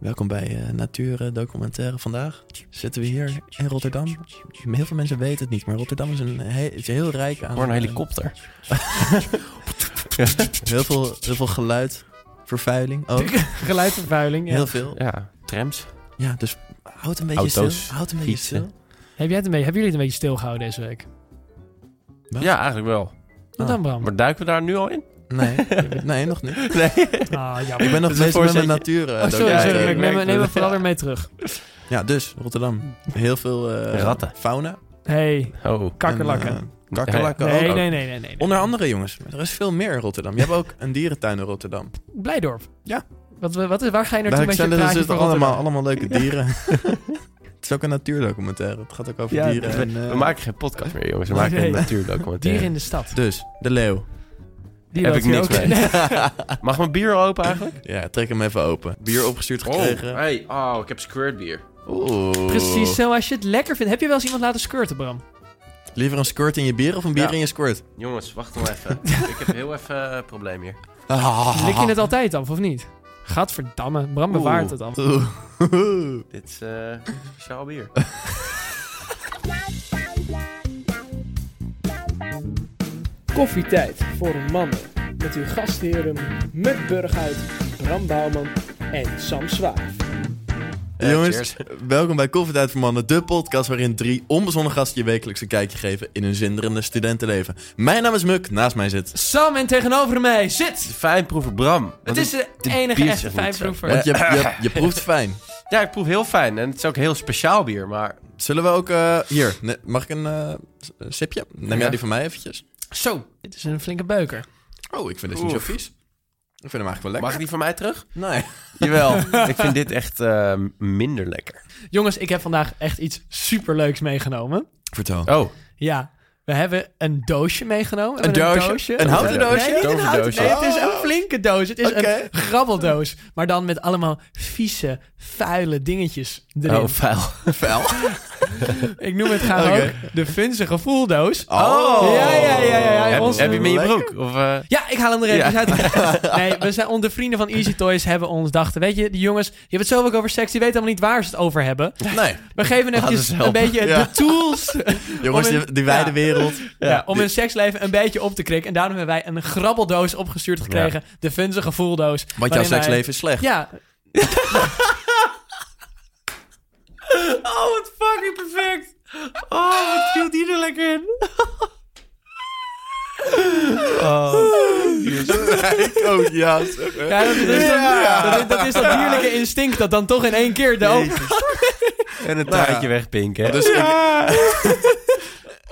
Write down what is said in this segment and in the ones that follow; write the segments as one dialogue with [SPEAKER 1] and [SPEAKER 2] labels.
[SPEAKER 1] welkom bij eh, Natuur eh, Documentaire. Vandaag zitten we hier in Rotterdam. Heel veel mensen weten het niet, maar Rotterdam is, een he- is heel rijk aan...
[SPEAKER 2] Voor een
[SPEAKER 1] eh,
[SPEAKER 2] helikopter.
[SPEAKER 1] heel, veel, heel veel geluid, vervuiling ook.
[SPEAKER 2] Geluidvervuiling.
[SPEAKER 1] Heel veel.
[SPEAKER 2] Ja, trams.
[SPEAKER 1] Ja, dus houd een beetje
[SPEAKER 2] Auto's,
[SPEAKER 1] stil. Houd een beetje
[SPEAKER 2] fietsen.
[SPEAKER 1] stil.
[SPEAKER 3] Heb jij het een beetje, hebben jullie het een beetje stilgehouden deze week?
[SPEAKER 1] Wat?
[SPEAKER 2] Ja, eigenlijk wel.
[SPEAKER 1] Ah,
[SPEAKER 3] Wat dan, Bram?
[SPEAKER 2] Maar duiken we daar nu al in?
[SPEAKER 1] Nee, nee, nog niet.
[SPEAKER 2] Nee.
[SPEAKER 3] Ah,
[SPEAKER 1] Ik
[SPEAKER 3] jammer.
[SPEAKER 1] ben nog
[SPEAKER 2] Dat is een
[SPEAKER 1] bezig met mijn
[SPEAKER 2] voorzetje.
[SPEAKER 1] natuur. eh,
[SPEAKER 3] Oh, sorry,
[SPEAKER 2] ja,
[SPEAKER 3] sorry.
[SPEAKER 2] ik
[SPEAKER 3] maar Ik neem,
[SPEAKER 2] merk
[SPEAKER 3] neem
[SPEAKER 2] het.
[SPEAKER 3] mijn verladder mee terug.
[SPEAKER 1] Ja, dus Rotterdam. Heel veel eh,
[SPEAKER 2] Ratten.
[SPEAKER 1] fauna.
[SPEAKER 3] Hey,
[SPEAKER 2] Oh.
[SPEAKER 3] kakkerlakken.
[SPEAKER 1] En, eh, kakkerlakken ook.
[SPEAKER 3] nee, nee, nee, nee, nee.
[SPEAKER 1] Onder andere jongens, er is veel meer in Rotterdam. Je hebt ook een dierentuin in Rotterdam.
[SPEAKER 3] Blijdorp.
[SPEAKER 1] Ja.
[SPEAKER 3] Wat, wat is, waar ga je naartoe
[SPEAKER 1] Daar
[SPEAKER 3] met je
[SPEAKER 1] zijn er
[SPEAKER 3] praatje
[SPEAKER 1] dus
[SPEAKER 3] van
[SPEAKER 1] allemaal,
[SPEAKER 3] Rotterdam?
[SPEAKER 1] allemaal leuke dieren. het is ook een natuurdocumentaire. Het gaat ook over
[SPEAKER 2] Ja,
[SPEAKER 1] dieren.
[SPEAKER 2] we,
[SPEAKER 1] en, eh,
[SPEAKER 2] we maken geen podcast meer, jongens. We maken
[SPEAKER 3] Nee.
[SPEAKER 2] een natuurdocumentaire.
[SPEAKER 3] Dieren in de stad.
[SPEAKER 1] Dus, de leeuw.
[SPEAKER 3] Die
[SPEAKER 2] Heb
[SPEAKER 3] loopt
[SPEAKER 2] ik
[SPEAKER 3] hier
[SPEAKER 2] niks
[SPEAKER 3] ook.
[SPEAKER 2] mee. Mag mijn bier al open eigenlijk?
[SPEAKER 1] ja, trek hem even open. Bier opgestuurd gekregen.
[SPEAKER 4] hey. Oh, ik heb squirtbier.
[SPEAKER 1] Oeh.
[SPEAKER 3] Precies zo, als je het lekker vindt. Heb je wel eens iemand laten squirten, Bram?
[SPEAKER 1] Liever een squirt in je bier of een bier
[SPEAKER 2] Ja.
[SPEAKER 1] in je squirt?
[SPEAKER 2] Jongens, wacht nog even. ik heb heel even eh, een probleem hier.
[SPEAKER 1] Ah.
[SPEAKER 3] Lik je het altijd af, of niet? Gadverdamme, Bram bewaart het af.
[SPEAKER 1] Oeh.
[SPEAKER 2] Dit is eh, speciaal bier.
[SPEAKER 5] Koffietijd voor mannen. Met uw gastheren Muk Burghuis, Bram Bouwman en Sam Zwaar.
[SPEAKER 1] Eh, Jongens,
[SPEAKER 2] cheers.
[SPEAKER 1] welkom bij Koffietijd voor Mannen, de podcast waarin drie onbezonnen gasten je wekelijks een kijkje geven in hun zinderende studentenleven. Mijn naam is Muk, naast mij zit.
[SPEAKER 3] Sam en tegenover mij
[SPEAKER 2] De
[SPEAKER 3] zit...
[SPEAKER 2] fijnproever Bram.
[SPEAKER 3] Het is de
[SPEAKER 2] dit
[SPEAKER 3] enige echte
[SPEAKER 2] biertje is niet zo.
[SPEAKER 3] vijfproever.
[SPEAKER 1] Want je, je, je proeft fijn.
[SPEAKER 2] Ja, ik proef heel fijn. En het is ook heel speciaal bier, maar...
[SPEAKER 1] Zullen we ook. eh, hier, ne- mag ik een eh, s- eh, sipje? Neem jij
[SPEAKER 2] Ja.
[SPEAKER 1] die van mij eventjes?
[SPEAKER 3] Zo, Eh, dit is een flinke beuker.
[SPEAKER 1] Oh, ik vind deze niet zo
[SPEAKER 2] Oef.
[SPEAKER 1] vies. Ik vind hem eigenlijk wel lekker.
[SPEAKER 2] Mag ik die van mij terug?
[SPEAKER 1] Nee.
[SPEAKER 2] Jawel. ik vind dit echt eh, minder lekker.
[SPEAKER 3] Jongens, ik heb vandaag echt iets superleuks meegenomen.
[SPEAKER 1] Vertel.
[SPEAKER 2] Oh,
[SPEAKER 3] Ja, we hebben een doosje meegenomen. We
[SPEAKER 1] Een
[SPEAKER 3] hebben
[SPEAKER 1] doosje? Een houten doosje? Oh.
[SPEAKER 3] Nee, niet een houten
[SPEAKER 2] Toverdoosje.
[SPEAKER 3] Nee, het is een flinke doos. Het is
[SPEAKER 1] Oké.
[SPEAKER 3] een grabbeldoos. Maar dan met allemaal vieze, vuile dingetjes erin.
[SPEAKER 2] oh vuil.
[SPEAKER 1] Vel.
[SPEAKER 3] Ik noem het graag
[SPEAKER 1] Oké.
[SPEAKER 3] ook de vunzige voeldoos.
[SPEAKER 1] Oh.
[SPEAKER 3] Ja, ja, ja, ja, ja,
[SPEAKER 2] Heb,
[SPEAKER 3] ons-
[SPEAKER 2] heb je hem in je
[SPEAKER 1] Lekker.
[SPEAKER 2] broek? Of, eh,
[SPEAKER 3] Ja, ik haal hem er even
[SPEAKER 2] Ja.
[SPEAKER 3] uit. Nee, we zijn onder vrienden van Easy Toys hebben ons dachten... Weet je, die jongens, je hebt het zo ook over seks. Die weten helemaal niet waar ze het over hebben.
[SPEAKER 1] Nee.
[SPEAKER 3] We geven
[SPEAKER 2] ze
[SPEAKER 3] even een
[SPEAKER 2] helpen.
[SPEAKER 3] beetje
[SPEAKER 1] Ja.
[SPEAKER 3] de tools
[SPEAKER 1] Jongens,
[SPEAKER 3] Om een-
[SPEAKER 1] die, die wijde
[SPEAKER 3] ja.
[SPEAKER 1] wereld.
[SPEAKER 3] Ja, om hun seksleven een beetje op te krikken. En daarom hebben wij een grabbeldoos opgestuurd gekregen. De funzige voeldoos.
[SPEAKER 1] Want jouw
[SPEAKER 3] waarin wij-
[SPEAKER 1] seksleven is slecht.
[SPEAKER 3] Ja. oh, wat fucking perfect. Oh, wat viel die er lekker in.
[SPEAKER 1] ik ook, ja. zeg.
[SPEAKER 3] Ja, dat, dat is dan- dat, is- dat is dat dierlijke instinct dat dan toch in één keer de open...
[SPEAKER 2] en een taartje wegpinken.
[SPEAKER 1] Dus ik,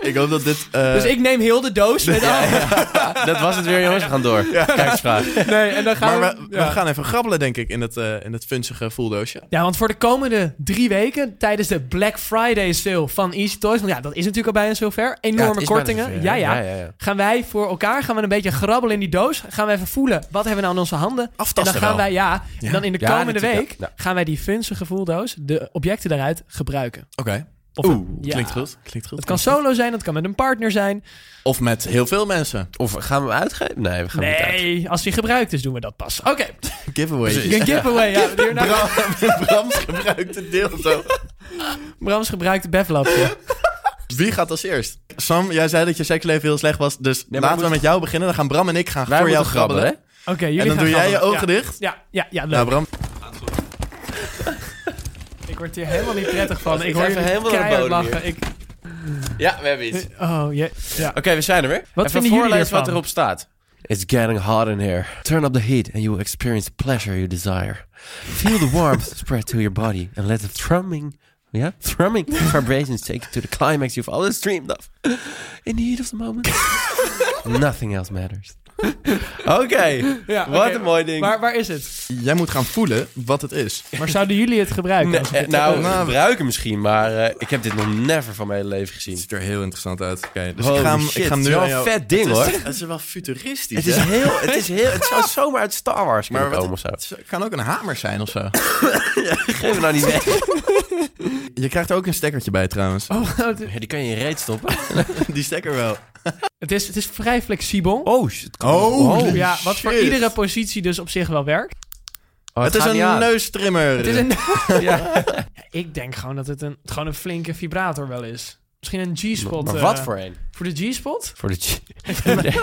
[SPEAKER 1] ik hoop dat dit... eh,
[SPEAKER 3] Dus ik neem heel de doos met al-
[SPEAKER 2] Dat was het weer, jongens. We gaan door. Kijksvraag.
[SPEAKER 3] Nee, en dan gaan
[SPEAKER 1] maar
[SPEAKER 3] we...
[SPEAKER 1] we,
[SPEAKER 3] ja.
[SPEAKER 1] we gaan even grabbelen, denk ik, in het, eh in het funzige voeldoosje.
[SPEAKER 3] Ja, want voor de komende drie weken, tijdens de Black Friday sale van Easy Toys... Want ja, dat is natuurlijk al bijna zover. Enorme kortingen. ja, ja.
[SPEAKER 2] ja, ja.
[SPEAKER 3] gaan wij voor elkaar, gaan we een beetje grabbelen in die doos. Gaan we even voelen, wat hebben we nou in onze handen?
[SPEAKER 1] Aftasten
[SPEAKER 3] en dan gaan
[SPEAKER 1] wel.
[SPEAKER 3] wij, ja,
[SPEAKER 1] Ja.
[SPEAKER 3] en dan in de
[SPEAKER 2] Ja,
[SPEAKER 3] komende
[SPEAKER 2] natuurlijk,
[SPEAKER 3] week
[SPEAKER 2] ja. Ja.
[SPEAKER 3] gaan wij die funzige voeldoos, de objecten daaruit, gebruiken.
[SPEAKER 1] Oké.
[SPEAKER 3] Of- ja.
[SPEAKER 1] Klinkt goed. Klinkt goed.
[SPEAKER 3] Het kan solo zijn, het kan met een partner zijn.
[SPEAKER 1] Of met heel veel mensen.
[SPEAKER 2] Of gaan we hem uitgeven? Nee, we gaan hem niet uit.
[SPEAKER 3] Nee, als die gebruikt is, doen we dat pas. Oké,
[SPEAKER 1] Giveaway.
[SPEAKER 3] een giveaway. Ja, hierna-
[SPEAKER 1] Bram, Brams gebruikte deelto.
[SPEAKER 3] Brams gebruikte beflapje.
[SPEAKER 1] Wie gaat als eerst? Sam, jij zei dat je seksleven heel slecht was. Dus
[SPEAKER 2] maar
[SPEAKER 1] laten
[SPEAKER 2] we
[SPEAKER 1] we met jou beginnen. Dan gaan Bram en ik gaan voor jou grabbelen.
[SPEAKER 3] Oké, jullie
[SPEAKER 1] en dan
[SPEAKER 3] gaan
[SPEAKER 1] doe jij je
[SPEAKER 3] grabbelen.
[SPEAKER 1] ogen dicht.
[SPEAKER 3] Ja, ja, ja, ja leuk.
[SPEAKER 1] Nou, Bram.
[SPEAKER 3] ik word hier helemaal niet prettig van. Ik
[SPEAKER 2] Ik
[SPEAKER 3] hoor
[SPEAKER 2] ga
[SPEAKER 3] je
[SPEAKER 2] even
[SPEAKER 3] helemaal
[SPEAKER 2] helemaal naar
[SPEAKER 3] keihard
[SPEAKER 2] bodem
[SPEAKER 3] lachen. Ik,
[SPEAKER 2] Ja, we hebben iets. Oké,
[SPEAKER 3] oh, je, ja.
[SPEAKER 2] we zijn er weer.
[SPEAKER 3] Wat
[SPEAKER 2] Even
[SPEAKER 3] vinden jullie
[SPEAKER 2] voorlezen wat
[SPEAKER 3] ervan?
[SPEAKER 2] erop staat. It's getting hot in here. Turn up the heat and you will experience pleasure you desire. Feel the warmth spread to your body and let the thrumming, yeah, thrumming vibrations take you to the climax you've always dreamed of. In the heat of the moment, nothing else matters. Oké,
[SPEAKER 3] Ja,
[SPEAKER 2] wat
[SPEAKER 3] oké.
[SPEAKER 2] een mooi ding.
[SPEAKER 3] Waar, waar is het?
[SPEAKER 1] Jij moet gaan voelen wat het is.
[SPEAKER 3] Maar zouden jullie het gebruiken?
[SPEAKER 2] Nee,
[SPEAKER 3] als
[SPEAKER 2] eh,
[SPEAKER 3] het-
[SPEAKER 2] nou,
[SPEAKER 1] Nou,
[SPEAKER 2] gebruiken misschien, maar eh, ik heb dit nog never van mijn hele leven
[SPEAKER 1] Het
[SPEAKER 2] gezien.
[SPEAKER 1] ziet er heel interessant uit. Oké, dus
[SPEAKER 2] Holy
[SPEAKER 1] ik ga, hem-
[SPEAKER 2] shit,
[SPEAKER 1] ik ga hem
[SPEAKER 2] het
[SPEAKER 1] nu
[SPEAKER 2] is wel
[SPEAKER 1] aan
[SPEAKER 2] een
[SPEAKER 1] jou...
[SPEAKER 2] vet ding,
[SPEAKER 1] het is,
[SPEAKER 2] hoor.
[SPEAKER 1] Het is wel futuristisch,
[SPEAKER 2] Het is
[SPEAKER 1] hè?
[SPEAKER 2] heel, het is heel, het zou zomaar uit Star Wars kunnen
[SPEAKER 1] Maar wat-
[SPEAKER 2] komen of zo.
[SPEAKER 1] het is- het kan ook een hamer zijn of zo.
[SPEAKER 2] Geef me nou niet weg.
[SPEAKER 1] Je krijgt er ook een stekkertje bij trouwens.
[SPEAKER 3] Oh, het,
[SPEAKER 2] Ja, die kan je in je reet stoppen.
[SPEAKER 1] Die stekker wel.
[SPEAKER 3] het is, het is vrij flexibel.
[SPEAKER 2] Oh, shit.
[SPEAKER 1] Oh,
[SPEAKER 3] ja, wat voor iedere positie dus op zich wel werkt.
[SPEAKER 2] Oh,
[SPEAKER 1] Het is een neustrimmer.
[SPEAKER 3] Het is een... Ja, ik denk gewoon dat het een, het gewoon een flinke vibrator wel is. Misschien een G-spot.
[SPEAKER 2] Maar
[SPEAKER 3] eh,
[SPEAKER 2] wat voor een?
[SPEAKER 3] Voor de G-spot?
[SPEAKER 2] Voor de chi-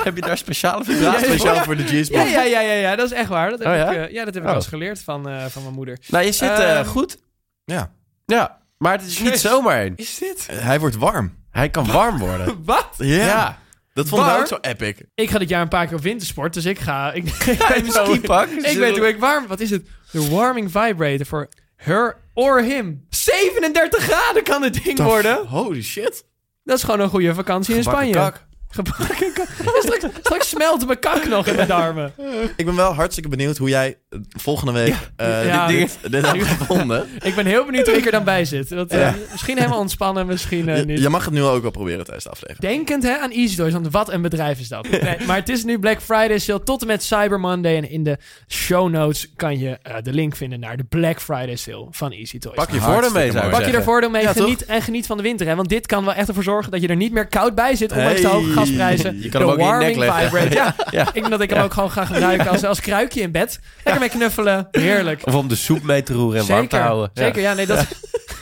[SPEAKER 2] Heb je daar speciale
[SPEAKER 1] Ja,
[SPEAKER 2] vibratie?
[SPEAKER 1] speciaal voor de G's.
[SPEAKER 3] Ja, ja, ja, ja, ja, dat is echt waar. Dat heb
[SPEAKER 2] Oh,
[SPEAKER 3] ik,
[SPEAKER 2] ja?
[SPEAKER 3] eh, ja, dat heb ik
[SPEAKER 2] Oh.
[SPEAKER 3] wel eens geleerd van, eh, van mijn moeder.
[SPEAKER 2] Nou, je zit
[SPEAKER 3] Ehm,
[SPEAKER 2] eh, goed.
[SPEAKER 1] Ja.
[SPEAKER 2] Ja, maar het is niet
[SPEAKER 3] Jezus.
[SPEAKER 2] zomaar een.
[SPEAKER 3] Is dit?
[SPEAKER 1] Hij wordt warm.
[SPEAKER 2] Hij kan warm worden.
[SPEAKER 3] Wat?
[SPEAKER 1] Ja.
[SPEAKER 2] Ja.
[SPEAKER 1] Dat vond ik
[SPEAKER 3] Warm?
[SPEAKER 1] ook zo epic.
[SPEAKER 3] Ik ga dit jaar een paar keer op wintersport, dus ik ga... Ik,
[SPEAKER 2] Hij heeft een skipak.
[SPEAKER 3] ik weet hoe ik warm... Wat is het? De warming vibrator voor her or him. 37 graden kan het ding worden.
[SPEAKER 1] Holy shit.
[SPEAKER 3] Dat is gewoon een goede vakantie in
[SPEAKER 2] Gebakken
[SPEAKER 3] Spanje.
[SPEAKER 2] kak.
[SPEAKER 3] Gebakken kak. Ja, straks, straks smelt mijn kak nog in mijn darmen.
[SPEAKER 1] Ik ben wel hartstikke benieuwd hoe jij eh, volgende week eh,
[SPEAKER 3] Ja.
[SPEAKER 1] dit, dit, dit hebt gevonden.
[SPEAKER 3] Ik ben heel benieuwd hoe ik er dan bij zit. Want, eh, Misschien helemaal ontspannen, misschien eh,
[SPEAKER 1] Je,
[SPEAKER 3] niet.
[SPEAKER 1] je mag het nu ook wel proberen tijdens de aflevering.
[SPEAKER 3] Denkend hè, aan Easy Toys, want wat een bedrijf is dat. Nee, maar het is nu Black Friday sale tot en met Cyber Monday. En in de show notes kan je eh, de link vinden naar de Black Friday sale van Easy Toys.
[SPEAKER 2] Pak je voordeel mee, zou ik
[SPEAKER 1] Pak
[SPEAKER 3] Pak je
[SPEAKER 2] zeggen.
[SPEAKER 3] er voordeel mee
[SPEAKER 1] Ja,
[SPEAKER 3] geniet, en geniet van de winter. Hè? Want dit kan wel echt ervoor zorgen dat je er niet meer koud bij zit. Ondanks de
[SPEAKER 1] Hey.
[SPEAKER 3] hoge gasprijzen.
[SPEAKER 2] Je kan hem
[SPEAKER 3] de
[SPEAKER 2] ook in je nek leggen.
[SPEAKER 3] vibrator. Ja.
[SPEAKER 2] Ja.
[SPEAKER 3] Ik denk dat ik hem ook gewoon ga gebruiken als, als kruikje in bed. Lekker mee knuffelen. Heerlijk.
[SPEAKER 2] Of om de soep mee te roeren en warm te houden. Ja.
[SPEAKER 3] Zeker, ja. nee, dat...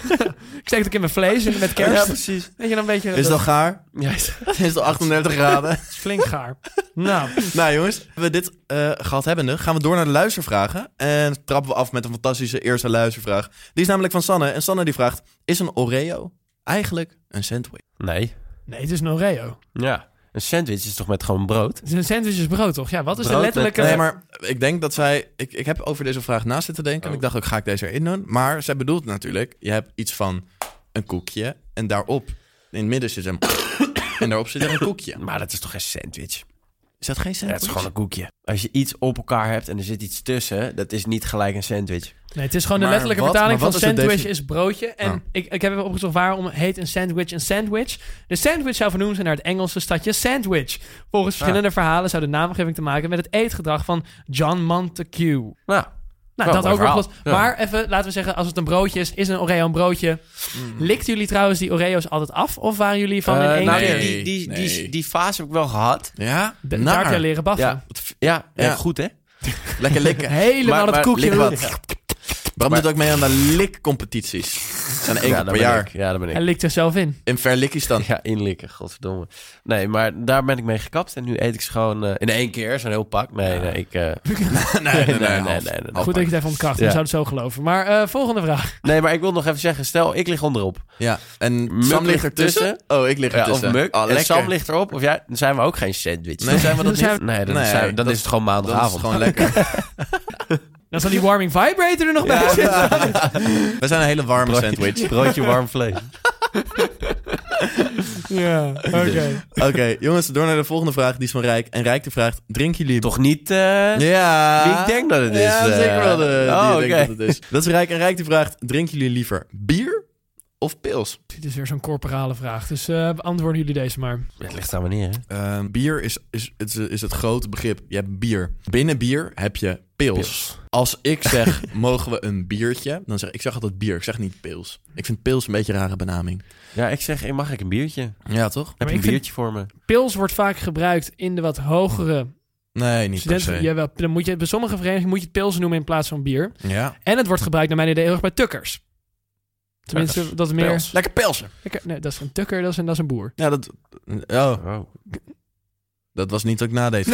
[SPEAKER 3] ik steek het ook in mijn vlees en met kerst.
[SPEAKER 2] Ja,
[SPEAKER 3] Weet
[SPEAKER 2] precies.
[SPEAKER 3] je, dan weet je...
[SPEAKER 1] Is het al gaar?
[SPEAKER 2] Ja,
[SPEAKER 1] Is het al 38 graden?
[SPEAKER 3] is flink gaar. nou,
[SPEAKER 1] nou jongens, we dit eh, gehad hebbende, gaan we door naar de luistervragen. En trappen we af met een fantastische eerste luistervraag. Die is namelijk van Sanne. En Sanne die vraagt, is een Oreo eigenlijk een sandwich?
[SPEAKER 2] nee.
[SPEAKER 3] nee, het is een Oreo.
[SPEAKER 2] Ja. Een sandwich is toch met gewoon brood?
[SPEAKER 3] Het is een sandwich is brood, toch? Ja, wat is de
[SPEAKER 2] Brood met- eh,
[SPEAKER 3] letterlijke...
[SPEAKER 1] Nee, maar ik denk dat zij... Ik, ik heb over deze vraag na zitten denken.
[SPEAKER 2] Oh.
[SPEAKER 1] En ik dacht ook, ga ik deze erin doen? Maar zij bedoelt natuurlijk, je hebt iets van een koekje. En daarop, in het midden zit een... en daarop zit er een koekje.
[SPEAKER 2] Maar dat is toch geen sandwich?
[SPEAKER 1] Is dat geen
[SPEAKER 2] Ja,
[SPEAKER 1] sandwich?
[SPEAKER 2] het is gewoon een koekje. Als je iets op elkaar hebt en er zit iets tussen, dat is niet gelijk een sandwich.
[SPEAKER 3] Nee, het is gewoon de
[SPEAKER 1] Maar
[SPEAKER 3] letterlijke
[SPEAKER 1] wat-
[SPEAKER 3] vertaling
[SPEAKER 1] maar
[SPEAKER 3] van
[SPEAKER 1] wat is de
[SPEAKER 3] sandwich
[SPEAKER 1] defini-
[SPEAKER 3] is broodje. En
[SPEAKER 1] Ah.
[SPEAKER 3] ik, ik heb even opgezocht waarom heet een sandwich een sandwich. De sandwich zou vernoemd zijn naar het Engelse stadje Sandwich.
[SPEAKER 1] Ah.
[SPEAKER 3] Volgens verschillende verhalen zou de naamgeving te maken hebben met het eetgedrag van John Montague.
[SPEAKER 2] Nou,
[SPEAKER 3] Nou, dat
[SPEAKER 2] Oh, mooi
[SPEAKER 3] ook nog
[SPEAKER 2] verhaal.
[SPEAKER 3] wat. Maar even, laten we zeggen, als het een broodje is, is een Oreo een broodje.
[SPEAKER 1] Mm.
[SPEAKER 3] Likten jullie trouwens die Oreo's altijd af? Of waren jullie van in
[SPEAKER 2] eh,
[SPEAKER 3] één
[SPEAKER 2] nou,
[SPEAKER 3] keer?
[SPEAKER 1] nee.
[SPEAKER 2] die, die, die, die,
[SPEAKER 1] Nee.
[SPEAKER 2] die fase heb ik wel gehad.
[SPEAKER 1] Ja,
[SPEAKER 3] De-
[SPEAKER 1] naar.
[SPEAKER 3] Daar heb jij leren baffen.
[SPEAKER 2] Ja, ja, ja.
[SPEAKER 1] Ja.
[SPEAKER 2] goed hè?
[SPEAKER 1] Lekker likken.
[SPEAKER 3] Helemaal
[SPEAKER 2] Maar-
[SPEAKER 3] het
[SPEAKER 2] maar
[SPEAKER 3] koekje.
[SPEAKER 1] lik wat. Bram doet ook mee aan de likcompetities. Dat zijn één keer
[SPEAKER 2] ja, daar
[SPEAKER 1] per
[SPEAKER 2] ben
[SPEAKER 1] jaar.
[SPEAKER 2] ik. Ja, daar ben ik.
[SPEAKER 3] Hij likt er zelf in.
[SPEAKER 1] In Verlikistan.
[SPEAKER 2] Ja, inlikken, godverdomme. Nee, maar daar ben ik mee gekapt. En nu eet ik ze gewoon eh, in één keer, zo'n heel pak. Nee, nee, ik... eh,
[SPEAKER 1] nee,
[SPEAKER 2] nee, nee,
[SPEAKER 1] half.
[SPEAKER 2] nee, nee.
[SPEAKER 1] Half
[SPEAKER 3] Goed
[SPEAKER 1] maar.
[SPEAKER 3] dat je het even ontkracht.
[SPEAKER 2] Ja.
[SPEAKER 3] We zouden het zo geloven. Maar eh, volgende vraag.
[SPEAKER 2] nee, maar ik wil nog even zeggen, stel, ik lig onderop.
[SPEAKER 1] Ja, en
[SPEAKER 2] Muk
[SPEAKER 1] Sam ligt
[SPEAKER 2] ligt
[SPEAKER 1] ertussen. Oh, ik lig
[SPEAKER 2] Ja, Ah, of
[SPEAKER 1] ertussen.
[SPEAKER 2] muk.
[SPEAKER 1] Oh,
[SPEAKER 2] en
[SPEAKER 1] lekker.
[SPEAKER 2] Sam ligt erop. Of ja, dan zijn we ook geen sandwich.
[SPEAKER 1] Nee, zijn we dat
[SPEAKER 3] Dan zijn
[SPEAKER 1] niet?
[SPEAKER 3] we-
[SPEAKER 2] Nee, dan,
[SPEAKER 1] Nee,
[SPEAKER 2] zijn we- dan
[SPEAKER 1] dat-
[SPEAKER 2] is het gewoon
[SPEAKER 1] Dan is het
[SPEAKER 2] maandagavond.
[SPEAKER 1] gewoon lekker.
[SPEAKER 3] Dan zal die warming vibrator er nog bij zitten.
[SPEAKER 1] We zijn een hele warme sandwich.
[SPEAKER 2] Broodje, broodje warm vlees.
[SPEAKER 3] Ja, oké.
[SPEAKER 1] Oké, jongens, door naar de volgende vraag. Die is van Rijk. En Rijk die vraagt, drinken jullie...
[SPEAKER 2] Toch niet eh,
[SPEAKER 1] Ja.
[SPEAKER 2] wie ik denk dat het is.
[SPEAKER 1] Ja,
[SPEAKER 2] eh.
[SPEAKER 1] zeker wel. De, die
[SPEAKER 2] oh,
[SPEAKER 1] ik
[SPEAKER 2] oké.
[SPEAKER 1] denk dat, het is. dat is Rijk. En Rijk die vraagt, drinken jullie liever bier of pils?
[SPEAKER 3] Dit is weer zo'n corporale vraag. Dus eh, beantwoorden jullie deze maar.
[SPEAKER 2] Het ligt aan wanneer, hè?
[SPEAKER 1] Ehm, bier is, is, is, is het grote begrip. Je hebt bier. Binnen bier heb je pils. Als ik zeg, mogen we een biertje? Dan zeg ik, ik zeg altijd bier, ik zeg niet pils. Ik vind pils een beetje een rare benaming.
[SPEAKER 2] Ja, ik zeg, eh, mag ik een biertje?
[SPEAKER 1] Ja, toch?
[SPEAKER 2] Heb
[SPEAKER 3] ik
[SPEAKER 2] je een
[SPEAKER 3] vind-
[SPEAKER 2] biertje voor me?
[SPEAKER 3] Pils wordt vaak gebruikt in de wat hogere
[SPEAKER 1] Nee, niet per
[SPEAKER 3] studenten.
[SPEAKER 1] se.
[SPEAKER 3] Jawel, dan moet je, bij sommige verenigingen moet je het pils noemen in plaats van bier.
[SPEAKER 1] Ja.
[SPEAKER 3] En het wordt gebruikt naar mijn idee heel erg bij tukkers. Tenminste, dat is meer...
[SPEAKER 2] Pils.
[SPEAKER 1] Lekker pelsen.
[SPEAKER 3] Lekker- nee, dat is een tukker, dat is een, dat is een boer.
[SPEAKER 1] Ja, dat... Oh,
[SPEAKER 2] Oh.
[SPEAKER 1] dat was niet dat ik nadeed.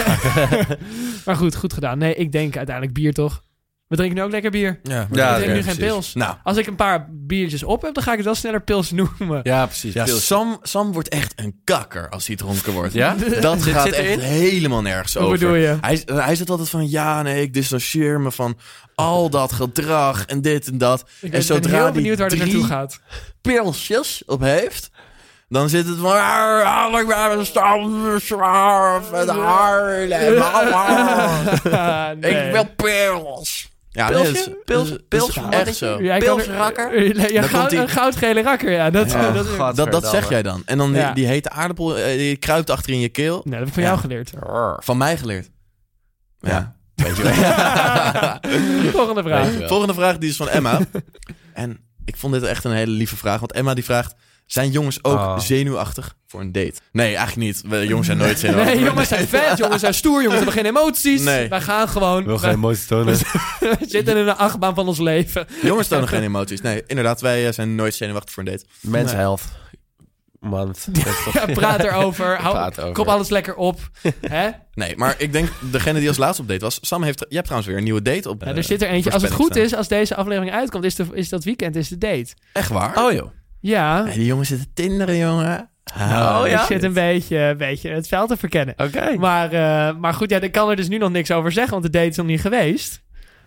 [SPEAKER 3] Maar goed, goed gedaan. Nee, ik denk uiteindelijk bier toch. We drinken nu ook lekker bier.
[SPEAKER 1] Ja,
[SPEAKER 2] Ja,
[SPEAKER 3] We
[SPEAKER 2] oké,
[SPEAKER 3] drinken nu
[SPEAKER 2] precies.
[SPEAKER 3] geen pils.
[SPEAKER 1] Nou,
[SPEAKER 3] Als ik een paar biertjes op heb, dan ga ik het wel sneller pils noemen.
[SPEAKER 2] Ja, precies.
[SPEAKER 1] ja,
[SPEAKER 2] pils.
[SPEAKER 1] Sam, Sam wordt echt een kakker als hij dronken wordt.
[SPEAKER 2] Ja?
[SPEAKER 1] Dat
[SPEAKER 2] Zit-
[SPEAKER 1] gaat
[SPEAKER 2] zit
[SPEAKER 1] echt
[SPEAKER 2] erin?
[SPEAKER 1] helemaal nergens
[SPEAKER 3] Wat
[SPEAKER 1] over.
[SPEAKER 3] bedoel je?
[SPEAKER 1] Hij, eh, hij zit altijd van, ja, nee, ik distancieer me van al dat gedrag en dit en dat.
[SPEAKER 3] Ik
[SPEAKER 1] en
[SPEAKER 3] ben, ben
[SPEAKER 1] zodra
[SPEAKER 3] heel
[SPEAKER 1] die
[SPEAKER 3] benieuwd waar dit
[SPEAKER 1] drie
[SPEAKER 3] naartoe gaat.
[SPEAKER 1] pilsjes op heeft, Dan zit het van... "Ah, Ik ben een stamzwaar en Haarlem. ah, ah,
[SPEAKER 3] Ah, nee.
[SPEAKER 1] Ik wil pils. Ja, nee, dat is-
[SPEAKER 6] Pilsje? Pils,
[SPEAKER 1] dat is
[SPEAKER 6] pils,
[SPEAKER 1] echt zo.
[SPEAKER 3] Ja, ik kan er- Ja,
[SPEAKER 1] Oh. Dan
[SPEAKER 3] goud,
[SPEAKER 1] komt-ie.
[SPEAKER 3] een goudgele rakker, ja. Dat,
[SPEAKER 1] Ja.
[SPEAKER 3] dat,
[SPEAKER 2] Gadverdamme.
[SPEAKER 1] Dat, dat zeg jij dan. En dan die-
[SPEAKER 3] Ja.
[SPEAKER 1] die, hete aardappel, eh, die kruipt achter in je keel.
[SPEAKER 3] nee, Nou, dat heb ik van
[SPEAKER 1] Ja.
[SPEAKER 3] jou geleerd.
[SPEAKER 1] Van mij geleerd. Ja,
[SPEAKER 6] Ja.
[SPEAKER 1] weet je wel.
[SPEAKER 3] Volgende vraag.
[SPEAKER 1] Volgende vraag die is van Emma. en ik vond dit echt een hele lieve vraag. Want Emma die vraagt... Zijn jongens ook
[SPEAKER 2] Ah.
[SPEAKER 1] zenuwachtig voor een date? Nee, eigenlijk niet. We- Jongens zijn nooit zenuwachtig.
[SPEAKER 3] Nee, jongens zijn vet, jongens zijn stoer, jongens hebben geen emoties.
[SPEAKER 1] Nee.
[SPEAKER 3] Wij gaan gewoon.
[SPEAKER 2] Wil geen emoties tonen.
[SPEAKER 3] We zitten in de achtbaan van ons leven.
[SPEAKER 1] Jongens tonen geen emoties. Nee, inderdaad. Wij eh, zijn nooit zenuwachtig voor een date.
[SPEAKER 2] Men's health. Month. Dat is toch-
[SPEAKER 3] Ja, praat erover. Hou,
[SPEAKER 2] Praat over.
[SPEAKER 3] Kop alles lekker op. Hè?
[SPEAKER 1] Nee, maar ik denk... Degene die als laatste op date was... Sam heeft... Je hebt trouwens weer een nieuwe date op.
[SPEAKER 3] Ja,
[SPEAKER 1] eh,
[SPEAKER 3] er zit er eentje. Als het goed
[SPEAKER 1] voorspelling
[SPEAKER 3] is, als deze aflevering uitkomt, is, de, is dat weekend is de date.
[SPEAKER 1] Echt waar?
[SPEAKER 6] Oh joh.
[SPEAKER 3] Ja.
[SPEAKER 1] Nee, die jongens zitten tinderen, jongen.
[SPEAKER 2] Oh, ja?
[SPEAKER 3] Ik zit een beetje, een beetje het veld te verkennen.
[SPEAKER 2] Oké.
[SPEAKER 3] Maar, eh, maar goed, ja, ik kan er dus nu nog niks over zeggen, want de date is nog niet geweest.
[SPEAKER 2] Ik,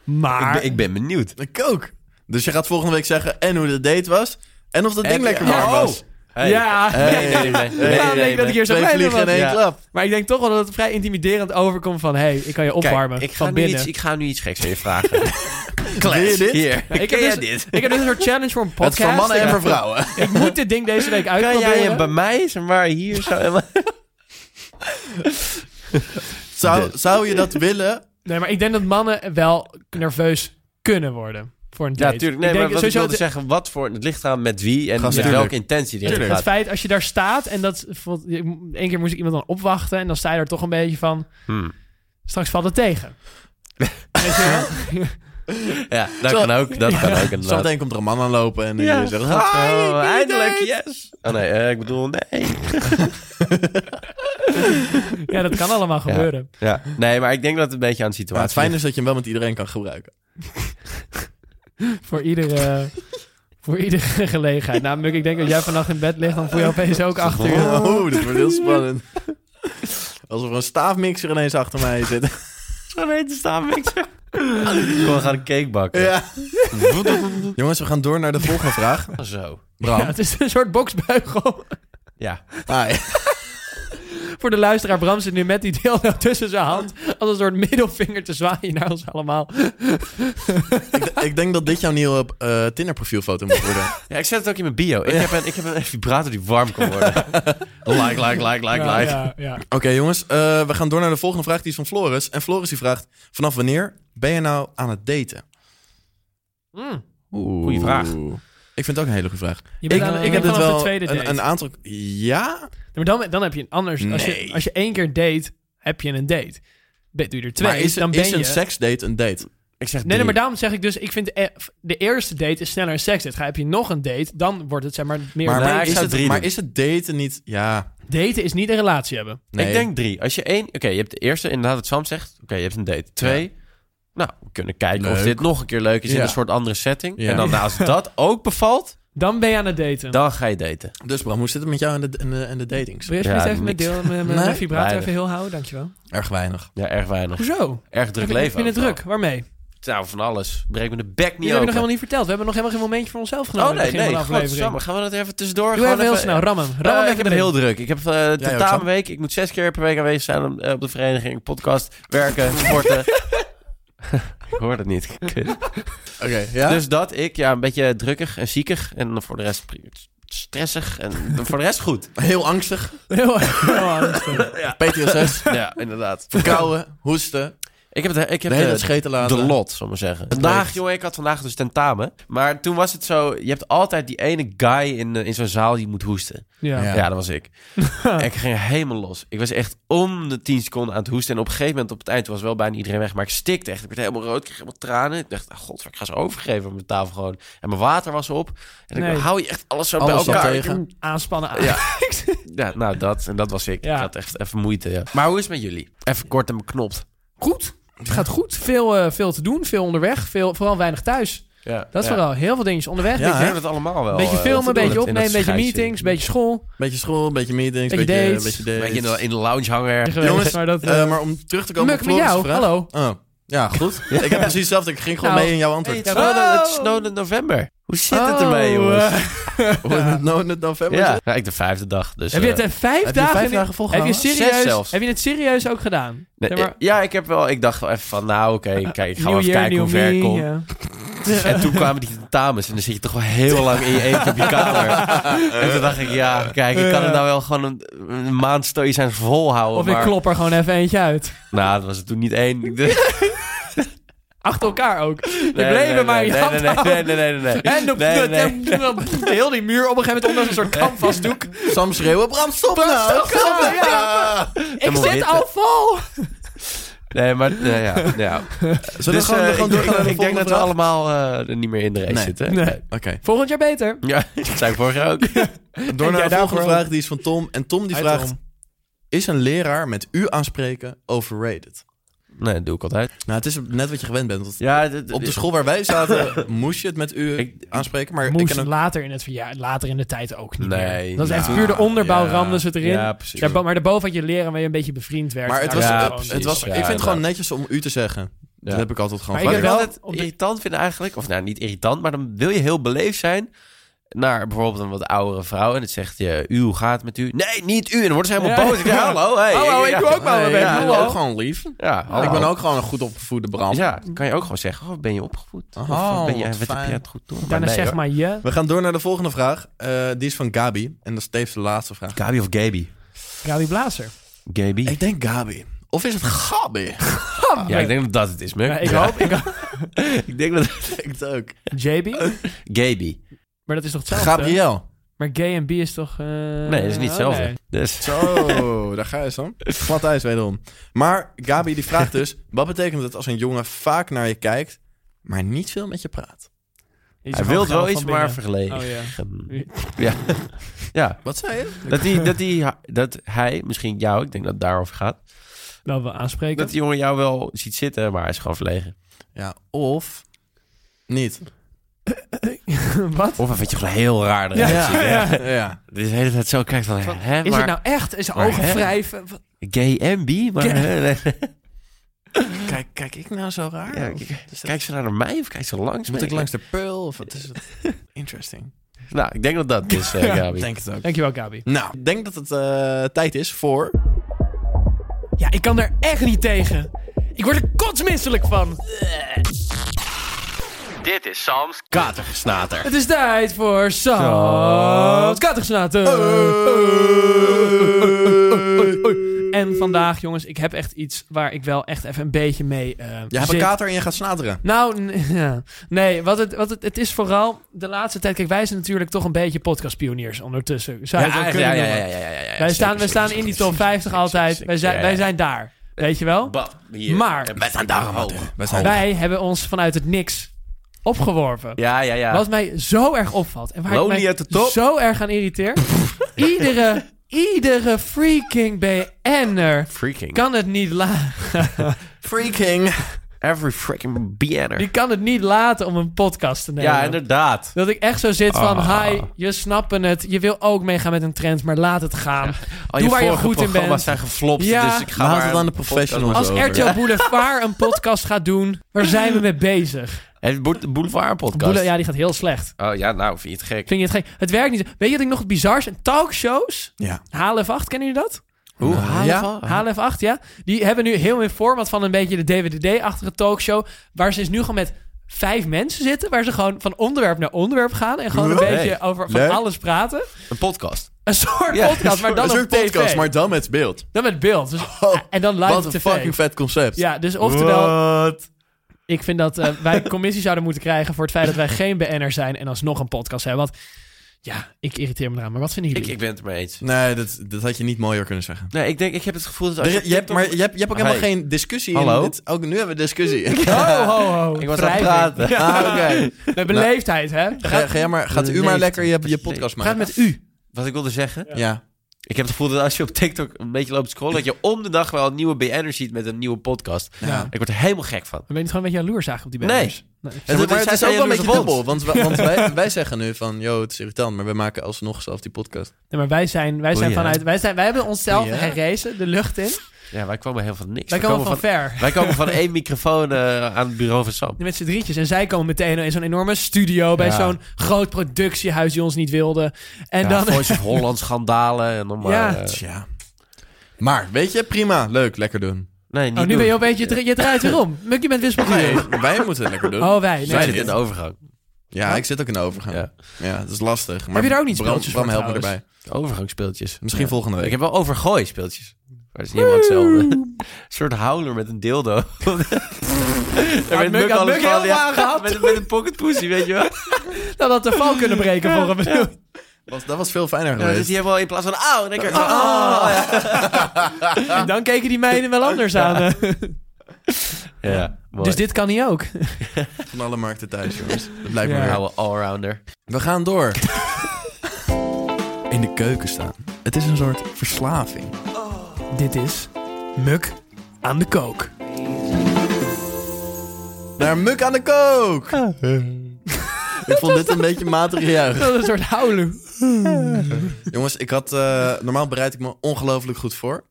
[SPEAKER 3] Maar
[SPEAKER 2] ben, ik ben benieuwd.
[SPEAKER 1] Ik ook. Dus je gaat volgende week zeggen en hoe de date was. En of dat ding
[SPEAKER 2] En-
[SPEAKER 1] lekker
[SPEAKER 2] ja,
[SPEAKER 1] warm
[SPEAKER 2] oh.
[SPEAKER 1] was.
[SPEAKER 3] ja,
[SPEAKER 1] Hey.
[SPEAKER 2] nee, nee, nee, nee,
[SPEAKER 3] Waarom denk
[SPEAKER 2] nee,
[SPEAKER 3] je dat ik hier zo
[SPEAKER 1] Twee
[SPEAKER 3] blij mee
[SPEAKER 1] vliegen in
[SPEAKER 3] was?
[SPEAKER 1] één
[SPEAKER 2] Ja.
[SPEAKER 1] klap.
[SPEAKER 3] Maar ik denk toch wel dat het vrij intimiderend overkomt van... hé, hey, ik kan je
[SPEAKER 2] Kijk,
[SPEAKER 3] opwarmen
[SPEAKER 2] ik, ga
[SPEAKER 3] van
[SPEAKER 2] nu
[SPEAKER 3] binnen.
[SPEAKER 2] iets, ik ga nu iets geks aan je vragen.
[SPEAKER 1] Wil je dit?
[SPEAKER 2] Hier.
[SPEAKER 3] Ja, ik,
[SPEAKER 2] ken
[SPEAKER 3] heb
[SPEAKER 2] jij
[SPEAKER 3] dus,
[SPEAKER 2] dit?
[SPEAKER 3] ik heb dus een soort challenge voor een
[SPEAKER 1] Het is
[SPEAKER 3] podcast.
[SPEAKER 1] voor mannen en
[SPEAKER 3] Ja.
[SPEAKER 1] voor vrouwen.
[SPEAKER 3] Ik moet dit ding deze week
[SPEAKER 2] Kan jij bij
[SPEAKER 3] uitproberen.
[SPEAKER 2] mij, zeg maar, hier zo...
[SPEAKER 1] Zou, zou je dat willen?
[SPEAKER 3] Nee, maar ik denk dat mannen wel nerveus kunnen worden voor een
[SPEAKER 2] Ja,
[SPEAKER 3] date.
[SPEAKER 2] natuurlijk. Nee,
[SPEAKER 3] ik
[SPEAKER 2] maar
[SPEAKER 3] denk
[SPEAKER 2] wat ik
[SPEAKER 3] sowieso
[SPEAKER 2] wilde
[SPEAKER 3] het,
[SPEAKER 2] zeggen, wat voor... Het ligt aan met wie en
[SPEAKER 1] Gast,
[SPEAKER 2] met
[SPEAKER 1] tuurlijk.
[SPEAKER 2] welke intentie die
[SPEAKER 3] het
[SPEAKER 2] erin gaat.
[SPEAKER 3] feit als je daar staat en dat... Eén keer moest ik iemand dan opwachten en dan sta je er toch een beetje van...
[SPEAKER 2] Hmm.
[SPEAKER 3] Straks valt het tegen. Weet je wel?
[SPEAKER 2] Ja, dat kan ook. Dat kan ook inderdaad.
[SPEAKER 1] Zometeen komt er een man aanlopen en
[SPEAKER 2] Ja.
[SPEAKER 1] je zegt... "Ah."
[SPEAKER 2] Oh, eindelijk, yes. Oh nee, eh, ik bedoel, nee.
[SPEAKER 3] ja, dat kan allemaal
[SPEAKER 2] Ja.
[SPEAKER 3] gebeuren.
[SPEAKER 2] Ja. Nee, maar ik denk dat het een beetje aan de
[SPEAKER 1] Maar het
[SPEAKER 2] situatie
[SPEAKER 1] fijne
[SPEAKER 2] ligt.
[SPEAKER 1] is dat je hem wel met iedereen kan gebruiken.
[SPEAKER 3] Voor iedere, voor iedere gelegenheid. Nou, Muk, ik denk dat jij vannacht in bed ligt, dan voel je opeens ook achter je.
[SPEAKER 1] Oh, dat wordt heel spannend. Alsof er een staafmixer ineens achter mij zit.
[SPEAKER 2] Kom, we gaan een cake bakken.
[SPEAKER 1] Ja. Jongens, we gaan door naar de volgende vraag.
[SPEAKER 2] Oh, Zo.
[SPEAKER 3] Ja,
[SPEAKER 1] Bram.
[SPEAKER 3] het is een soort boksbeugel.
[SPEAKER 2] Ja.
[SPEAKER 1] Hi.
[SPEAKER 3] Voor de luisteraar, Bram zit nu met die deel nou tussen zijn hand. Als een soort middelvinger te zwaaien naar ons allemaal.
[SPEAKER 1] Ik, d- ik denk dat dit jouw nieuwe eh, Tinder profielfoto moet worden.
[SPEAKER 2] ja, ik zet het ook in mijn bio. Ik, heb, een, ik heb een vibrator die warm kan worden. like, like, like, like,
[SPEAKER 3] ja,
[SPEAKER 2] like.
[SPEAKER 3] ja, ja.
[SPEAKER 1] Oké jongens, eh, we gaan door naar de volgende vraag. Die is van Floris. En Floris die vraagt, vanaf wanneer ben je nou aan het daten?
[SPEAKER 3] Mm.
[SPEAKER 1] Oeh.
[SPEAKER 2] Goeie vraag.
[SPEAKER 1] Ik vind het ook een hele goede vraag.
[SPEAKER 3] Je bent aan- ik ben
[SPEAKER 1] dit
[SPEAKER 3] vanaf de tweede date.
[SPEAKER 1] een, een aantal... Ja?
[SPEAKER 3] Maar dan, dan heb je een anders. Als, je,
[SPEAKER 1] Nee.
[SPEAKER 3] als je één keer date, heb je een date. Ben- Doe je er twee,
[SPEAKER 1] maar is,
[SPEAKER 3] dan ben
[SPEAKER 1] is
[SPEAKER 3] je...
[SPEAKER 1] een seksdate een date?
[SPEAKER 2] Ik zeg
[SPEAKER 3] Nee, nee, maar
[SPEAKER 2] drie.
[SPEAKER 3] daarom zeg ik dus, ik vind eh, de eerste date is sneller een seksdate. Ga heb je nog een date, dan wordt het zeg maar meer...
[SPEAKER 1] Maar,
[SPEAKER 2] Nee,
[SPEAKER 1] maar
[SPEAKER 2] ik
[SPEAKER 1] is
[SPEAKER 2] zou
[SPEAKER 1] het,
[SPEAKER 2] drie
[SPEAKER 1] maar
[SPEAKER 2] doen.
[SPEAKER 1] is het daten niet... Ja.
[SPEAKER 3] Daten is niet een relatie hebben.
[SPEAKER 1] Nee.
[SPEAKER 2] Ik denk drie. Als je één... Oké, je hebt de eerste, inderdaad wat Sam zegt. Oké, je hebt een date. Twee... Nou, we kunnen kijken of
[SPEAKER 1] Leuk.
[SPEAKER 2] dit nog een keer leuk is in
[SPEAKER 1] Ja.
[SPEAKER 2] een soort andere setting.
[SPEAKER 1] Ja.
[SPEAKER 2] En dan nou, als dat ook bevalt,
[SPEAKER 3] Dan ben je aan het daten.
[SPEAKER 2] dan ga je daten.
[SPEAKER 1] Dus Bram, hoe zit het met jou en de, en de, en de datings?
[SPEAKER 3] Wil je
[SPEAKER 2] Ja,
[SPEAKER 3] alsjeblieft even mijn,
[SPEAKER 2] niks.
[SPEAKER 3] deel, mijn, mijn
[SPEAKER 1] Nee.
[SPEAKER 3] vibrator
[SPEAKER 2] Weinig.
[SPEAKER 3] even heel houden? Dankjewel.
[SPEAKER 1] Erg weinig.
[SPEAKER 2] Ja, erg weinig.
[SPEAKER 3] Hoezo?
[SPEAKER 2] Erg druk
[SPEAKER 3] Heb
[SPEAKER 2] leven.
[SPEAKER 3] Ik vind het
[SPEAKER 2] overal.
[SPEAKER 3] druk. Waarmee?
[SPEAKER 2] Nou, van alles. Breek me de bek
[SPEAKER 3] Die
[SPEAKER 2] niet
[SPEAKER 3] hebben we nog
[SPEAKER 2] open.
[SPEAKER 3] helemaal niet verteld. We hebben nog helemaal geen momentje voor onszelf
[SPEAKER 2] Oh
[SPEAKER 3] genomen. in
[SPEAKER 2] nee,
[SPEAKER 3] het
[SPEAKER 2] nee,
[SPEAKER 3] begin van de
[SPEAKER 2] godsamme.
[SPEAKER 3] aflevering.
[SPEAKER 2] Gaan we dat even tussendoor?
[SPEAKER 3] Doe
[SPEAKER 2] Gewoon
[SPEAKER 3] even heel snel. Ram hem. Ram hem
[SPEAKER 2] Eh,
[SPEAKER 3] even
[SPEAKER 2] ik heb het
[SPEAKER 3] erin.
[SPEAKER 2] heel druk. Ik heb eh tentamenweek. Ik moet zes keer per week aanwezig zijn om, eh, op de vereniging. Podcast, werken, sporten. ik hoor het niet. Kut.
[SPEAKER 1] Oké, ja?
[SPEAKER 2] Dus dat ik, ja, een beetje drukkig en ziekig. En voor de rest pri- stressig. En voor de rest goed.
[SPEAKER 1] Heel angstig.
[SPEAKER 3] Heel heel angstig.
[SPEAKER 1] PTSS.
[SPEAKER 2] Ja, inderdaad.
[SPEAKER 1] verkouden. Hoesten.
[SPEAKER 2] Ik heb, het, ik heb
[SPEAKER 1] De hele
[SPEAKER 2] de-
[SPEAKER 1] tijd scheten laten.
[SPEAKER 2] De lot, zal ik maar zeggen. Vandaag, joh, ik had vandaag dus tentamen. Maar toen was het zo, je hebt altijd die ene guy in, eh, in zo'n zaal die moet hoesten.
[SPEAKER 3] Ja.
[SPEAKER 1] Ja.
[SPEAKER 2] Ja, dat was ik. ik ging helemaal los. Ik was echt om de 10 seconden aan het hoesten. En op een gegeven moment, op het eind, was wel bijna iedereen weg. Maar ik stikte echt. Ik werd helemaal rood, ik kreeg helemaal tranen. Ik dacht, ah, god, ik ga ze overgeven op mijn tafel gewoon. En mijn water was op. En
[SPEAKER 3] Nee.
[SPEAKER 2] ik hou je echt alles zo
[SPEAKER 1] Alles
[SPEAKER 2] bij
[SPEAKER 1] zat
[SPEAKER 2] elkaar.
[SPEAKER 1] tegen.
[SPEAKER 3] Aanspannen.
[SPEAKER 2] Ja. ja, nou dat. En dat was ik.
[SPEAKER 3] Ja.
[SPEAKER 2] Ik had echt even moeite, ja. Maar hoe is het met jullie? Even kort en beknopt.
[SPEAKER 3] Goed. Het gaat goed. Veel, eh, veel te doen. Veel onderweg. Veel, vooral weinig thuis.
[SPEAKER 2] Ja.
[SPEAKER 3] Dat is vooral. Heel veel dingetjes onderweg.
[SPEAKER 1] Ja,
[SPEAKER 2] ik
[SPEAKER 1] hè?
[SPEAKER 2] denk dat het allemaal wel.
[SPEAKER 3] Een beetje
[SPEAKER 2] eh,
[SPEAKER 3] filmen, een
[SPEAKER 2] te doen
[SPEAKER 3] beetje
[SPEAKER 2] hebt in
[SPEAKER 3] opnemen, een
[SPEAKER 2] dat
[SPEAKER 3] beetje
[SPEAKER 2] scheidje.
[SPEAKER 3] meetings, een beetje school.
[SPEAKER 1] Beetje school, beetje meetings,
[SPEAKER 3] Beetje
[SPEAKER 1] beetje,
[SPEAKER 3] dates.
[SPEAKER 1] beetje
[SPEAKER 2] Een beetje in de,
[SPEAKER 1] dates.
[SPEAKER 2] in de lounge hangen.
[SPEAKER 1] Jongens,
[SPEAKER 3] maar dat...
[SPEAKER 1] Eh, maar om terug te komen
[SPEAKER 3] Muk,
[SPEAKER 1] op
[SPEAKER 3] met
[SPEAKER 1] Floris'
[SPEAKER 3] jou.
[SPEAKER 1] vraag.
[SPEAKER 3] Hallo.
[SPEAKER 1] Oh, ja, goed. Ik heb precies hetzelfde. Ik ging gewoon
[SPEAKER 3] Nou,
[SPEAKER 1] mee in jouw antwoord.
[SPEAKER 2] Oh!
[SPEAKER 3] het snowde- het
[SPEAKER 2] snowde in november. Hoe zit het ermee,
[SPEAKER 3] Oh,
[SPEAKER 2] jongens?
[SPEAKER 3] eh,
[SPEAKER 1] Wordt het nou in het november?
[SPEAKER 2] ja, ja, ik de vijfde dag. Dus,
[SPEAKER 3] heb je
[SPEAKER 2] eh,
[SPEAKER 3] het in vijf
[SPEAKER 1] Heb je
[SPEAKER 3] dagen?
[SPEAKER 1] vijf
[SPEAKER 3] in-
[SPEAKER 1] dagen
[SPEAKER 3] heb je,
[SPEAKER 1] volgehouden?
[SPEAKER 2] Zes
[SPEAKER 3] serieus,
[SPEAKER 2] zelfs.
[SPEAKER 3] heb je het serieus ook gedaan?
[SPEAKER 2] nee, eh,
[SPEAKER 3] Zeg maar,
[SPEAKER 2] Ja, ik heb wel. Ik dacht wel even van, nou oké, kijk, ik ga wel
[SPEAKER 3] New
[SPEAKER 2] even
[SPEAKER 3] Year,
[SPEAKER 2] kijken hoe
[SPEAKER 3] New
[SPEAKER 2] ver
[SPEAKER 3] Me,
[SPEAKER 2] ik kom.
[SPEAKER 3] ja.
[SPEAKER 2] En toen kwamen die tentamens en dan zit je toch wel heel lang in je eentje op je kamer. En toen dacht ik, ja, kijk, ik kan het nou wel gewoon een, een maand stoïcijns zijn volhouden.
[SPEAKER 3] Of ik
[SPEAKER 2] maar-
[SPEAKER 3] klop er gewoon even eentje uit.
[SPEAKER 2] Nou, dat was er toen niet één. Ik dacht-
[SPEAKER 3] Achter elkaar ook. Je
[SPEAKER 2] Nee,
[SPEAKER 3] bleven
[SPEAKER 2] nee,
[SPEAKER 3] maar in
[SPEAKER 2] nee,
[SPEAKER 3] je hand
[SPEAKER 2] nee, nee,
[SPEAKER 3] houden.
[SPEAKER 2] nee, nee, nee, nee, nee.
[SPEAKER 3] En op
[SPEAKER 2] Nee, nee.
[SPEAKER 3] heel die muur op een gegeven moment onder zo'n soort canvasdoek.
[SPEAKER 1] Sam schreeuwen, Bram, stop nou!
[SPEAKER 3] stop nou, ja. Ik
[SPEAKER 2] Helemaal
[SPEAKER 3] zit
[SPEAKER 2] wit.
[SPEAKER 3] al vol.
[SPEAKER 2] Nee, maar nee, ja, ja.
[SPEAKER 1] Zullen
[SPEAKER 2] Dus,
[SPEAKER 1] we gewoon,
[SPEAKER 2] eh,
[SPEAKER 1] gewoon doorgaan
[SPEAKER 2] ik,
[SPEAKER 1] naar
[SPEAKER 2] denk-
[SPEAKER 1] de
[SPEAKER 2] ik denk
[SPEAKER 1] volgende
[SPEAKER 2] dat we
[SPEAKER 1] vraag?
[SPEAKER 2] allemaal eh, er niet meer in de race
[SPEAKER 1] Nee.
[SPEAKER 2] zitten.
[SPEAKER 3] Nee.
[SPEAKER 2] Nee.
[SPEAKER 1] Oké,
[SPEAKER 3] Volgend jaar beter.
[SPEAKER 2] Ja, dat zei ik vorig jaar ook.
[SPEAKER 1] door naar de volgende
[SPEAKER 3] daarvoor
[SPEAKER 1] vraag. Die is van Tom. En Tom die
[SPEAKER 3] Uit,
[SPEAKER 1] vraagt...
[SPEAKER 3] Tom.
[SPEAKER 1] Is een leraar met u aanspreken overrated?
[SPEAKER 2] Nee, dat doe ik altijd.
[SPEAKER 1] Nou, het is net wat je gewend bent. want
[SPEAKER 2] Ja, dit-
[SPEAKER 1] op de school waar wij zaten moest je het met u
[SPEAKER 2] Ik-
[SPEAKER 1] aanspreken. Maar ik
[SPEAKER 3] Moest
[SPEAKER 1] ken ook...
[SPEAKER 3] later in het verjaar, later in de tijd ook niet
[SPEAKER 2] Nee,
[SPEAKER 3] meer. Dat is echt
[SPEAKER 2] nou,
[SPEAKER 3] puur de onderbouw
[SPEAKER 1] ja,
[SPEAKER 3] ramden ze het erin.
[SPEAKER 2] Ja, precies.
[SPEAKER 3] Daarbo- maar daarboven had je leren waar je een beetje bevriend werd.
[SPEAKER 1] Maar het
[SPEAKER 3] Daar
[SPEAKER 1] was,
[SPEAKER 2] Ja,
[SPEAKER 1] eh,
[SPEAKER 3] gewoon-
[SPEAKER 2] precies.
[SPEAKER 1] het was,
[SPEAKER 2] Ja,
[SPEAKER 1] ik vind het
[SPEAKER 2] inderdaad.
[SPEAKER 1] gewoon netjes om u te zeggen.
[SPEAKER 2] Ja.
[SPEAKER 1] Dat heb ik altijd gewoon
[SPEAKER 3] Maar ik
[SPEAKER 1] vaak
[SPEAKER 2] Wat ik
[SPEAKER 3] heb wel-
[SPEAKER 2] altijd
[SPEAKER 3] op de-
[SPEAKER 2] irritant vind eigenlijk, of nou niet irritant, maar dan wil je heel beleefd zijn naar bijvoorbeeld een wat oudere vrouw en het zegt je, u, hoe gaat het met u? Nee, niet u. En dan worden ze helemaal
[SPEAKER 3] Ja.
[SPEAKER 2] boos. Ik denk, hallo, hey,
[SPEAKER 3] Hallo, ik doe ook maar
[SPEAKER 2] Nee,
[SPEAKER 3] wat,
[SPEAKER 2] ja,
[SPEAKER 3] ik
[SPEAKER 1] ik
[SPEAKER 3] bedoel,
[SPEAKER 1] ben
[SPEAKER 3] hallo.
[SPEAKER 1] ook gewoon lief.
[SPEAKER 2] Ja, hallo. Dus
[SPEAKER 1] Ik ben ook gewoon een goed opgevoede Bram.
[SPEAKER 2] Ja, kan je ook gewoon zeggen, oh, ben je opgevoed? Of
[SPEAKER 1] Oh,
[SPEAKER 2] ben je,
[SPEAKER 1] wat
[SPEAKER 2] wat heb
[SPEAKER 1] fijn.
[SPEAKER 2] je het goed door?
[SPEAKER 3] Daarna
[SPEAKER 2] nee,
[SPEAKER 3] zeg
[SPEAKER 2] hoor.
[SPEAKER 3] maar je.
[SPEAKER 1] We gaan door naar de volgende vraag. Eh, die is van Gabi. En dat is tevens de laatste vraag.
[SPEAKER 2] Gabi of Gaby?
[SPEAKER 3] Gabi Blazer.
[SPEAKER 2] Gaby.
[SPEAKER 1] Ik denk Gabi. Of is het Gabi?
[SPEAKER 2] ja, ik denk dat dat het is, Muk.
[SPEAKER 3] Ja, ik
[SPEAKER 2] Ja.
[SPEAKER 3] hoop. Ik hoop.
[SPEAKER 2] ik denk dat...
[SPEAKER 1] Ik denk het ook.
[SPEAKER 3] JB?
[SPEAKER 2] Gaby.
[SPEAKER 3] Maar dat is toch hetzelfde?
[SPEAKER 1] Gabriel.
[SPEAKER 3] Maar gay en bi is toch... eh,
[SPEAKER 2] Nee, dat is niet
[SPEAKER 3] oh,
[SPEAKER 2] hetzelfde.
[SPEAKER 3] nee.
[SPEAKER 2] Dus...
[SPEAKER 1] Zo, daar ga je dan. Glad ijs wederom. Maar Gabi die vraagt dus... Wat betekent het als een jongen vaak naar je kijkt... maar niet veel met je praat?
[SPEAKER 3] Die is
[SPEAKER 2] Hij
[SPEAKER 3] gewoon
[SPEAKER 2] wil wel
[SPEAKER 3] geil
[SPEAKER 2] iets,
[SPEAKER 3] van
[SPEAKER 2] maar
[SPEAKER 3] binnen.
[SPEAKER 2] vergelegen.
[SPEAKER 3] Oh ja.
[SPEAKER 2] ja. ja.
[SPEAKER 1] Wat zei je?
[SPEAKER 2] Dat, die, dat, die, dat hij, misschien jou, ik denk dat het daarover gaat.
[SPEAKER 3] Wel wel aanspreken.
[SPEAKER 2] Dat die jongen jou wel ziet zitten, maar hij is gewoon verlegen.
[SPEAKER 1] Ja, of... Niet.
[SPEAKER 3] Wat?
[SPEAKER 2] Of hij vindt je gewoon heel raar
[SPEAKER 3] Ja,
[SPEAKER 2] eruit zien.
[SPEAKER 3] ja, ja.
[SPEAKER 1] Ja.
[SPEAKER 2] Dus de hele tijd zo kijkt van, hè,
[SPEAKER 3] Is
[SPEAKER 2] maar
[SPEAKER 3] het nou echt? Is
[SPEAKER 2] maar
[SPEAKER 3] ogen
[SPEAKER 2] hè?
[SPEAKER 3] wrijven? Wat-
[SPEAKER 2] gay en bi? Maar,
[SPEAKER 3] Gay-
[SPEAKER 2] hè, nee.
[SPEAKER 1] Kijk, kijk ik nou zo raar?
[SPEAKER 2] Ja,
[SPEAKER 1] Of-
[SPEAKER 2] kijk, kijk ze nou naar mij of kijkt ze langs
[SPEAKER 1] Moet
[SPEAKER 2] me?
[SPEAKER 1] ik langs de peul? Of wat is het? Interesting.
[SPEAKER 2] Nou, ik denk dat dat is, eh, Gabi.
[SPEAKER 1] Denk het ook.
[SPEAKER 3] Dankjewel, Gabi.
[SPEAKER 1] Nou, ik denk dat het eh, tijd is voor...
[SPEAKER 3] Ja, ik kan er echt niet tegen. Ik word er kotsmisselijk van.
[SPEAKER 2] Dit is Sam's Katergesnater.
[SPEAKER 3] Het is tijd voor Sam's Kattersnaten. En vandaag, jongens, ik heb echt iets waar ik wel echt even een beetje mee eh
[SPEAKER 1] Je hebt een
[SPEAKER 3] zit.
[SPEAKER 1] kater en je gaat snateren.
[SPEAKER 3] Nou, n- ja. nee, wat het, wat het, het is vooral de laatste tijd. Kijk, wij zijn natuurlijk toch een beetje podcastpioniers ondertussen. Zou je het wel kunnen
[SPEAKER 2] ja, ja,
[SPEAKER 3] noemen.
[SPEAKER 2] ja, ja, ja, ja.
[SPEAKER 3] Wij staan, wij staan in die top 50 altijd. Wij zijn, wij zijn daar. Weet je wel? Maar- Oh.
[SPEAKER 2] Wij staan daar omhoog.
[SPEAKER 1] Wij Oh, zijn
[SPEAKER 3] Wij hebben ons vanuit het niks opgeworpen.
[SPEAKER 2] Ja, ja, ja.
[SPEAKER 3] Wat mij zo erg opvalt. En waar
[SPEAKER 2] Lonely
[SPEAKER 3] ik mij
[SPEAKER 2] at the top.
[SPEAKER 3] zo erg aan irriteer. iedere, iedere freaking BN'er
[SPEAKER 2] Freaking.
[SPEAKER 3] kan het niet laten.
[SPEAKER 1] freaking.
[SPEAKER 2] Every freaking BN'er.
[SPEAKER 3] Die kan het niet laten om een podcast te nemen.
[SPEAKER 2] Ja, inderdaad.
[SPEAKER 3] dat ik echt zo zit van,
[SPEAKER 2] Ah.
[SPEAKER 3] hi, je snappen het. Je wil ook meegaan met een trend, maar laat het gaan.
[SPEAKER 2] Al
[SPEAKER 3] Doe waar je
[SPEAKER 2] vorige
[SPEAKER 3] goed in bent.
[SPEAKER 2] programma's zijn geflopt,
[SPEAKER 3] Ja.
[SPEAKER 2] dus ik ga
[SPEAKER 1] Laat
[SPEAKER 2] maar
[SPEAKER 1] het aan de professionals
[SPEAKER 3] Als
[SPEAKER 1] over.
[SPEAKER 3] RTL Boulevard een podcast gaat doen, waar zijn we mee bezig?
[SPEAKER 2] Het Bo- de Boulevard podcast.
[SPEAKER 3] Boule- ja, die gaat heel slecht.
[SPEAKER 2] Oh ja, nou, vind je het gek?
[SPEAKER 3] Vind je het gek? Het werkt niet. Weet je wat ik nog het bizar vind? Talkshows,
[SPEAKER 1] Ja. Nou,
[SPEAKER 3] HLF8, kennen jullie dat?
[SPEAKER 2] Hoe?
[SPEAKER 1] Ah, ja?
[SPEAKER 3] HLF8, ja. Die hebben nu heel in format van een beetje de DWDD-achtige talkshow. Waar ze is nu gewoon met vijf mensen zitten. Waar ze gewoon van onderwerp naar onderwerp gaan. En gewoon een
[SPEAKER 2] Hey,
[SPEAKER 3] beetje over van
[SPEAKER 1] leuk.
[SPEAKER 3] alles praten.
[SPEAKER 2] Een podcast.
[SPEAKER 3] Een soort
[SPEAKER 2] Ja,
[SPEAKER 3] podcast, maar dan
[SPEAKER 1] dus een
[SPEAKER 3] op
[SPEAKER 1] soort
[SPEAKER 3] tv.
[SPEAKER 1] podcast, maar dan met beeld.
[SPEAKER 3] Dan met beeld. Dus, en dan live
[SPEAKER 1] Wat
[SPEAKER 3] op
[SPEAKER 1] een
[SPEAKER 3] tv.
[SPEAKER 1] fucking vet concept.
[SPEAKER 3] Ja, dus oftewel... Ik vind dat eh, wij commissie zouden moeten krijgen... voor het feit dat wij geen BN'er zijn... en alsnog een podcast hebben. Want ja, ik irriteer me eraan. Maar wat vinden
[SPEAKER 2] Ik,
[SPEAKER 3] jullie?
[SPEAKER 2] ik ben het ermee eens.
[SPEAKER 1] Nee, dat, dat had je niet mooier kunnen zeggen.
[SPEAKER 2] Nee, ik denk, ik heb het gevoel dat... als
[SPEAKER 1] Er-
[SPEAKER 2] op
[SPEAKER 1] je, hebt,
[SPEAKER 2] TikTok-
[SPEAKER 1] maar je hebt, je hebt ook helemaal
[SPEAKER 2] Hey.
[SPEAKER 1] geen discussie.
[SPEAKER 2] Hallo?
[SPEAKER 1] In dit, ook nu hebben we discussie.
[SPEAKER 3] Ho, Oh, ho, ho.
[SPEAKER 2] Ik was aan het
[SPEAKER 3] Wrijving.
[SPEAKER 2] praten. Nou.
[SPEAKER 1] Ah, oké.
[SPEAKER 3] Met beleefdheid, hè?
[SPEAKER 1] Ga, ga jij maar, gaat u maar
[SPEAKER 2] Leeft.
[SPEAKER 1] lekker je, je podcast
[SPEAKER 3] Gaat
[SPEAKER 1] maken.
[SPEAKER 3] met u.
[SPEAKER 2] Wat ik wilde zeggen...
[SPEAKER 1] Ja.
[SPEAKER 2] Ik heb het gevoel dat als je op TikTok een beetje loopt te scrollen... dat je om de dag wel een nieuwe BN'er ziet met een nieuwe podcast.
[SPEAKER 3] Ja.
[SPEAKER 2] Ik word er helemaal gek van.
[SPEAKER 3] Dan ben je niet gewoon een beetje jaloers eigenlijk op die
[SPEAKER 2] Nee.
[SPEAKER 3] BN'ers. Nee.
[SPEAKER 1] Het,
[SPEAKER 2] maar
[SPEAKER 1] maar het
[SPEAKER 2] zij
[SPEAKER 1] is ook
[SPEAKER 2] zijn
[SPEAKER 1] wel een beetje
[SPEAKER 2] jaloers op
[SPEAKER 1] dubbel. Want, we- want wij, wij zeggen nu van, yo, het is irritant, maar we maken alsnog zelf die podcast.
[SPEAKER 3] Nee, maar wij zijn, wij zijn
[SPEAKER 2] Boeien, hè?
[SPEAKER 3] vanuit... Wij, zijn, wij hebben onszelf
[SPEAKER 1] Boeien.
[SPEAKER 3] herrezen, de lucht in.
[SPEAKER 2] Ja, wij kwamen heel van niks.
[SPEAKER 3] Wij komen van ver.
[SPEAKER 2] wij komen van één microfoon eh, aan het bureau van Sam.
[SPEAKER 3] Met z'n drietjes. En zij komen meteen in zo'n enorme studio. Bij
[SPEAKER 2] Ja.
[SPEAKER 3] zo'n groot productiehuis die ons niet wilde. En
[SPEAKER 2] En
[SPEAKER 3] dan.
[SPEAKER 2] Voice of Holland schandalen en dan maar...
[SPEAKER 3] Ja.
[SPEAKER 2] eh,
[SPEAKER 1] Tja. Maar, weet je, prima. Leuk, lekker doen.
[SPEAKER 2] nee, niet
[SPEAKER 3] Oh, nu
[SPEAKER 2] doen.
[SPEAKER 3] ben je opeens. Je, dra- je draait weer om. Muk, je bent weer
[SPEAKER 1] Nee,
[SPEAKER 3] spontaan.
[SPEAKER 1] wij moeten het lekker doen.
[SPEAKER 3] Oh, wij.
[SPEAKER 2] Zij
[SPEAKER 3] Nee.
[SPEAKER 1] Wij-
[SPEAKER 2] zit in de overgang.
[SPEAKER 1] Ja, ik zit ook in de overgang.
[SPEAKER 2] Ja.
[SPEAKER 1] Ja, dat is lastig. Maar
[SPEAKER 3] Heb je daar ook niet
[SPEAKER 1] Bram,
[SPEAKER 3] speeltjes
[SPEAKER 1] Bram
[SPEAKER 3] voor
[SPEAKER 1] helpt me
[SPEAKER 3] trouwens?
[SPEAKER 1] erbij.
[SPEAKER 2] Overgangspeeltjes.
[SPEAKER 1] Misschien
[SPEAKER 2] Ja.
[SPEAKER 1] volgende
[SPEAKER 2] Ik
[SPEAKER 1] week.
[SPEAKER 2] heb wel overgooi speeltjes. Maar het is niet helemaal hetzelfde. Een soort houler met een dildo. Daar
[SPEAKER 3] Muk-
[SPEAKER 2] weet Muk
[SPEAKER 3] had
[SPEAKER 2] alles
[SPEAKER 3] Muk
[SPEAKER 2] van,
[SPEAKER 3] helemaal
[SPEAKER 2] ja.
[SPEAKER 3] gehad.
[SPEAKER 2] Met, met een pocket pussy, weet je wel.
[SPEAKER 3] Nou, dat de val kunnen breken voor hem.
[SPEAKER 1] Was, dat was veel fijner
[SPEAKER 2] Dan zit
[SPEAKER 1] geweest.
[SPEAKER 2] hij helemaal in plaats van auw. Dan denk ik, ah.
[SPEAKER 3] En dan keken die meiden wel anders aan.
[SPEAKER 2] Ja, mooi.
[SPEAKER 3] Dus dit kan hij ook.
[SPEAKER 1] Van alle markten thuis, jongens. Dat blijkt
[SPEAKER 3] Ja.
[SPEAKER 1] me weer.
[SPEAKER 2] oude allrounder.
[SPEAKER 1] We gaan door. In de keuken staan. Het is een soort verslaving.
[SPEAKER 3] Dit is Muk aan de kook.
[SPEAKER 1] Naar Muk aan de kook! ik vond dit een beetje matig juich.
[SPEAKER 3] Dat is een soort houden.
[SPEAKER 1] Jongens, ik had, eh, normaal bereid ik me ongelooflijk goed voor.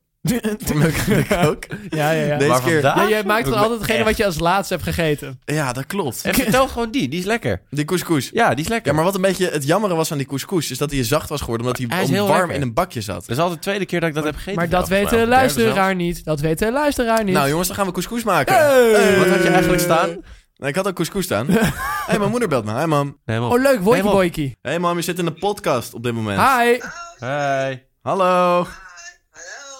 [SPEAKER 1] Voor Muk aan de kook.
[SPEAKER 3] Ja, ja, ja.
[SPEAKER 1] Deze
[SPEAKER 2] Maar
[SPEAKER 1] keer...
[SPEAKER 2] vandaag?
[SPEAKER 3] Ja, jij maakt gewoon altijd hetgene wat je als laatste hebt gegeten.
[SPEAKER 1] Ja, dat klopt.
[SPEAKER 2] En vertel gewoon die, die is lekker.
[SPEAKER 1] Die couscous.
[SPEAKER 2] Ja, die is lekker.
[SPEAKER 1] Ja, maar wat een beetje het jammere was aan die couscous... is dat hij zacht was geworden omdat hij,
[SPEAKER 2] Hij is heel
[SPEAKER 1] warm
[SPEAKER 2] lekker.
[SPEAKER 1] in een bakje zat.
[SPEAKER 2] Dat is al de tweede keer dat ik dat heb gegeten.
[SPEAKER 3] Maar dat weet de
[SPEAKER 2] vanavond.
[SPEAKER 3] luisteraar niet. Dat weet de luisteraar niet.
[SPEAKER 1] Nou jongens, dan gaan we couscous maken.
[SPEAKER 2] Wat had je eigenlijk staan?
[SPEAKER 1] Nee, ik had ook couscous staan. hey, mijn moeder belt me. Hey, mam.
[SPEAKER 2] Nee, man.
[SPEAKER 3] oh, leuk. Boykie
[SPEAKER 2] Helemaal-
[SPEAKER 3] boykie.
[SPEAKER 1] Hey, mam, je zit in de podcast op dit moment.
[SPEAKER 3] Hi.
[SPEAKER 2] Hey.
[SPEAKER 1] Hallo.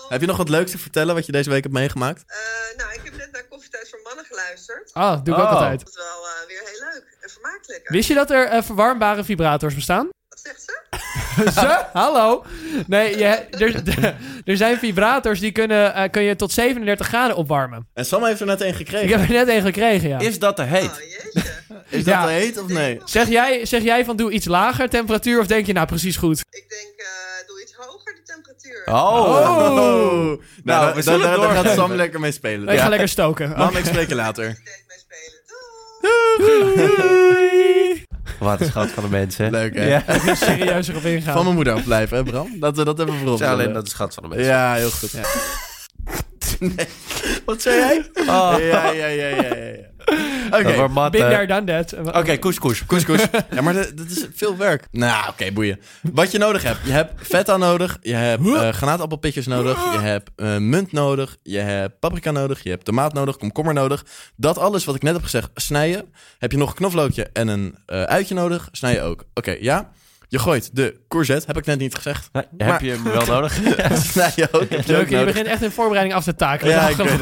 [SPEAKER 1] Heb je nog wat leuks te vertellen wat je deze week hebt meegemaakt?
[SPEAKER 7] Eh, nou, ik heb net naar Koffietijd voor Mannen geluisterd.
[SPEAKER 3] Ah, doe ik ook
[SPEAKER 2] Oh.
[SPEAKER 3] altijd.
[SPEAKER 7] Dat is wel eh, weer heel leuk en vermakelijk.
[SPEAKER 3] Wist je dat er eh, verwarmbare vibrators bestaan?
[SPEAKER 7] Wat zegt ze?
[SPEAKER 3] Ze? Hallo? Nee, je, er, er zijn vibrators die kunnen, eh, kun je tot 37 graden opwarmen.
[SPEAKER 1] En Sam heeft er net één gekregen.
[SPEAKER 3] Ik heb er net één gekregen, ja.
[SPEAKER 2] Is dat te
[SPEAKER 7] Oh,
[SPEAKER 2] heet?
[SPEAKER 7] jeetje.
[SPEAKER 1] Is
[SPEAKER 3] Ja.
[SPEAKER 1] dat Nou, heet of nee?
[SPEAKER 3] Zeg jij, zeg jij van doe iets lager temperatuur of denk je nou precies goed?
[SPEAKER 7] ik denk, eh, doe iets hoger de temperatuur.
[SPEAKER 2] Oh.
[SPEAKER 1] Nou, daar-
[SPEAKER 2] we zullen
[SPEAKER 1] daar, daar
[SPEAKER 2] doorgeven.
[SPEAKER 1] gaat Sam lekker mee spelen.
[SPEAKER 3] Ik ga lekker stoken.
[SPEAKER 1] Mam, ik spreek je later.
[SPEAKER 7] Ik deed mee spelen. Doei!
[SPEAKER 2] Wat een schat van de mensen. hè?
[SPEAKER 1] Leuk, hè?
[SPEAKER 2] Ja.
[SPEAKER 3] Ik moet serieuzer op ingaan.
[SPEAKER 1] Van mijn moeder afblijven, hè Bram? Dat we dat even voorop
[SPEAKER 2] Ja, alleen
[SPEAKER 1] stellen.
[SPEAKER 2] dat is schat van de mensen.
[SPEAKER 1] Ja, heel goed. Ja. Nee. Wat zei jij? Ja, ja, ja, ja, ja. ja. Oké.
[SPEAKER 2] Ah. Dat wordt mat,
[SPEAKER 3] Been
[SPEAKER 2] eh.
[SPEAKER 3] there, done that.
[SPEAKER 2] Oké, couscous.
[SPEAKER 1] Couscous. Ja, maar dat, dat is veel werk. Nou, oké, boeien. Wat je nodig hebt. Je hebt feta nodig. Je hebt eh granaatappelpitjes nodig. Je hebt eh, munt nodig. Je hebt paprika nodig. Je hebt tomaat nodig. Komkommer nodig. Dat alles wat ik net heb gezegd, snijden. Heb je nog een knoflookje en een eh, uitje nodig? Snij je ook. Oké, ja. Je gooit de courgette. Heb ik net niet gezegd.
[SPEAKER 2] Nou, Heb
[SPEAKER 1] Maar-
[SPEAKER 2] je hem wel nodig?
[SPEAKER 1] Snij je ook. Heb je ook
[SPEAKER 3] Leuk, je
[SPEAKER 1] nodig.
[SPEAKER 3] begint echt in voorbereiding af te taken.
[SPEAKER 1] Ja, ik weet het.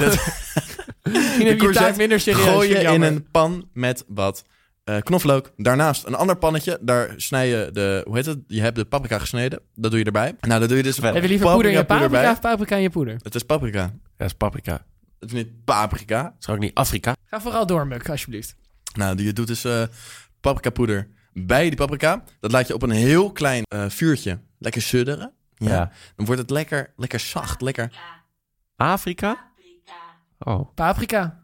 [SPEAKER 3] Misschien heb je je taak
[SPEAKER 1] courgette
[SPEAKER 3] minder serieus.
[SPEAKER 1] gooi je
[SPEAKER 3] Vind
[SPEAKER 1] in
[SPEAKER 3] ik jammer.
[SPEAKER 1] een pan met wat eh, knoflook. Daarnaast een ander pannetje. Daar snij je de, hoe heet het? Je hebt de paprika gesneden. Dat doe je erbij. Nou, dat doe je dus.
[SPEAKER 2] Verder.
[SPEAKER 3] Heb je liever poeder in je
[SPEAKER 1] paprika,
[SPEAKER 3] paprika,
[SPEAKER 1] poeder bij.
[SPEAKER 3] of paprika in je poeder?
[SPEAKER 1] Het is paprika.
[SPEAKER 2] Ja, is paprika.
[SPEAKER 1] Het is niet paprika.
[SPEAKER 2] Is ook niet Afrika?
[SPEAKER 3] Ga vooral door, Muk, alsjeblieft.
[SPEAKER 1] Nou, die- je doet dus eh paprika poeder bij die paprika. Dat laat je op een heel klein eh, vuurtje lekker sudderen. Ja. Dan wordt het lekker, lekker zacht. Lekker.
[SPEAKER 2] Afrika? Oh.
[SPEAKER 3] Paprika.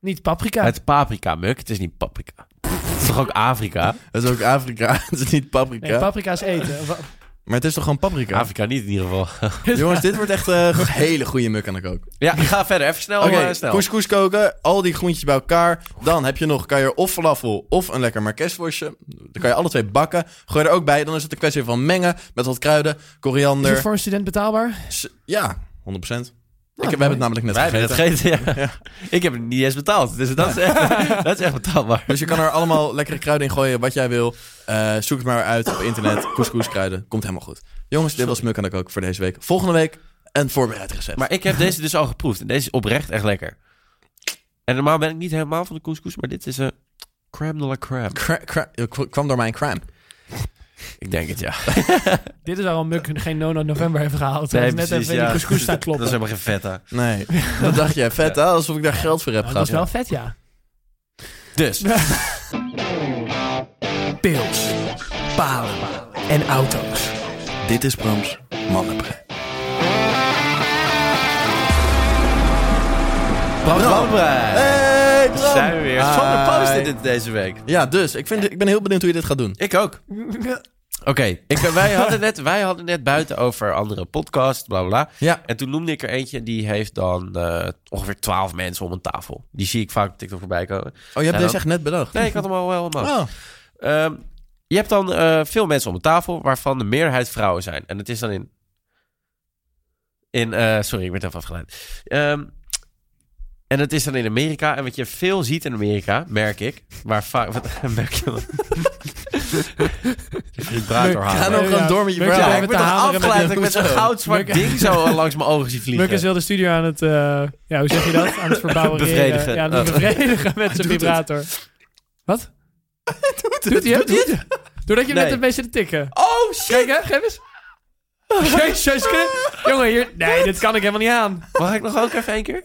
[SPEAKER 3] Niet paprika.
[SPEAKER 2] Het is paprika, Muk. Het is niet paprika. Het is toch ook Afrika?
[SPEAKER 1] Dat is ook Afrika. het is niet paprika.
[SPEAKER 3] Nee, paprika is eten. Wa-
[SPEAKER 1] maar het is toch gewoon paprika?
[SPEAKER 2] Afrika niet in ieder geval.
[SPEAKER 1] Jongens, dit wordt echt eh, een hele goede muk aan de kook.
[SPEAKER 2] Ja, ga verder. Even snel.
[SPEAKER 1] Oké,
[SPEAKER 2] eh, snel.
[SPEAKER 1] couscous koken, al die groentjes bij elkaar. Dan heb je nog, kan je er of falafel of een lekker Marquesworstje. Dan kan je alle twee bakken. Gooi er ook bij. Dan is het een kwestie van mengen met wat kruiden,
[SPEAKER 3] Is het
[SPEAKER 1] koriander.
[SPEAKER 3] voor Ah, een student betaalbaar?
[SPEAKER 1] S- Ja, 100%. ik, we hebben het namelijk net
[SPEAKER 2] Wij hebben het
[SPEAKER 1] gegeten.
[SPEAKER 2] gegeten, ja. Ik heb het niet eens betaald. Dus dat is echt, dat is echt betaalbaar.
[SPEAKER 1] Dus je kan er allemaal lekkere kruiden in gooien, wat jij wil. Eh, zoek het maar uit op internet. Couscous kruiden, komt helemaal goed. Jongens, dit was Muk en ik ook voor deze week. Volgende week een voorbereid recept.
[SPEAKER 2] Maar ik heb deze dus al geproefd. En deze is oprecht echt lekker. En normaal ben ik niet helemaal van de couscous, maar dit is een crème de la crème.
[SPEAKER 1] Cra- cra- eh, k- kwam door mijn crime.
[SPEAKER 2] Ik denk het, ja.
[SPEAKER 3] Dit is waarom Muk geen Nono November heeft gehaald. Hij
[SPEAKER 2] Nee,
[SPEAKER 3] heeft net
[SPEAKER 2] precies,
[SPEAKER 3] even in
[SPEAKER 2] ja.
[SPEAKER 3] die couscous staan kloppen.
[SPEAKER 2] Dat is helemaal geen feta.
[SPEAKER 1] Nee, dat dacht jij. Vet, hè? Alsof ik daar geld voor heb
[SPEAKER 3] Nou,
[SPEAKER 1] gehad.
[SPEAKER 3] dat is wel vet, ja.
[SPEAKER 2] Dus,
[SPEAKER 3] Pils, palen en auto's.
[SPEAKER 1] Dit is Brams Mannenbrein.
[SPEAKER 2] Barbara.
[SPEAKER 1] Hey, Bram!
[SPEAKER 2] Zijn we weer.
[SPEAKER 1] Hi.
[SPEAKER 2] Zonder post dit deze week.
[SPEAKER 1] Ja, dus ik, vind, ik ben heel benieuwd hoe je dit gaat doen.
[SPEAKER 2] Ik ook. Oké, ik- wij, hadden net- wij hadden net buiten over andere podcasts, bla bla. bla.
[SPEAKER 1] Ja.
[SPEAKER 2] En toen noemde ik er eentje, die heeft dan eh, ongeveer twaalf mensen om een tafel. Die zie ik vaak op TikTok voorbij komen.
[SPEAKER 1] Oh, je hebt
[SPEAKER 2] Ja,
[SPEAKER 1] deze
[SPEAKER 2] dan-
[SPEAKER 1] echt net bedacht?
[SPEAKER 2] Nee, ik had hem al wel bedacht.
[SPEAKER 1] Oh,
[SPEAKER 2] Ehm, je hebt dan eh, veel mensen om een tafel waarvan de meerderheid vrouwen zijn. En het is dan in. in eh, sorry, ik werd even afgeleid. Ehm, en het is dan in Amerika. En wat je veel ziet in Amerika, merk ik. Waar vaak. Wat merk je wel? Je
[SPEAKER 3] Merk-
[SPEAKER 2] draait
[SPEAKER 1] ga
[SPEAKER 2] doorhalen.
[SPEAKER 1] nou
[SPEAKER 3] Ja,
[SPEAKER 1] gewoon
[SPEAKER 3] ja.
[SPEAKER 1] door met je
[SPEAKER 3] Merk-
[SPEAKER 1] verhaal.
[SPEAKER 3] Ja,
[SPEAKER 2] ik
[SPEAKER 3] met
[SPEAKER 2] ben
[SPEAKER 3] de
[SPEAKER 2] toch
[SPEAKER 3] hameren met
[SPEAKER 2] afgeleid
[SPEAKER 3] de
[SPEAKER 2] dat ik met zo'n
[SPEAKER 3] hoezo.
[SPEAKER 2] gaudzwart
[SPEAKER 3] Merk-
[SPEAKER 2] ding zo langs mijn ogen zie vliegen.
[SPEAKER 3] Lucas wil de studio aan het, eh, ja, hoe zeg je dat? Aan het verbouwen. eh,
[SPEAKER 2] Bevredigen.
[SPEAKER 3] Ja, aan het
[SPEAKER 2] Oh.
[SPEAKER 3] bevredigen met zijn
[SPEAKER 1] doet
[SPEAKER 3] vibrator. Wat? doet hij het? Doet hij het? Doordat je hem net
[SPEAKER 2] Nee.
[SPEAKER 3] een beetje te tikken.
[SPEAKER 2] Oh shit!
[SPEAKER 3] Kijk hè, geef eens. Jezus, kijk. jongen, hier. Nee, dit kan ik helemaal niet aan.
[SPEAKER 2] Mag ik nog ook even één keer?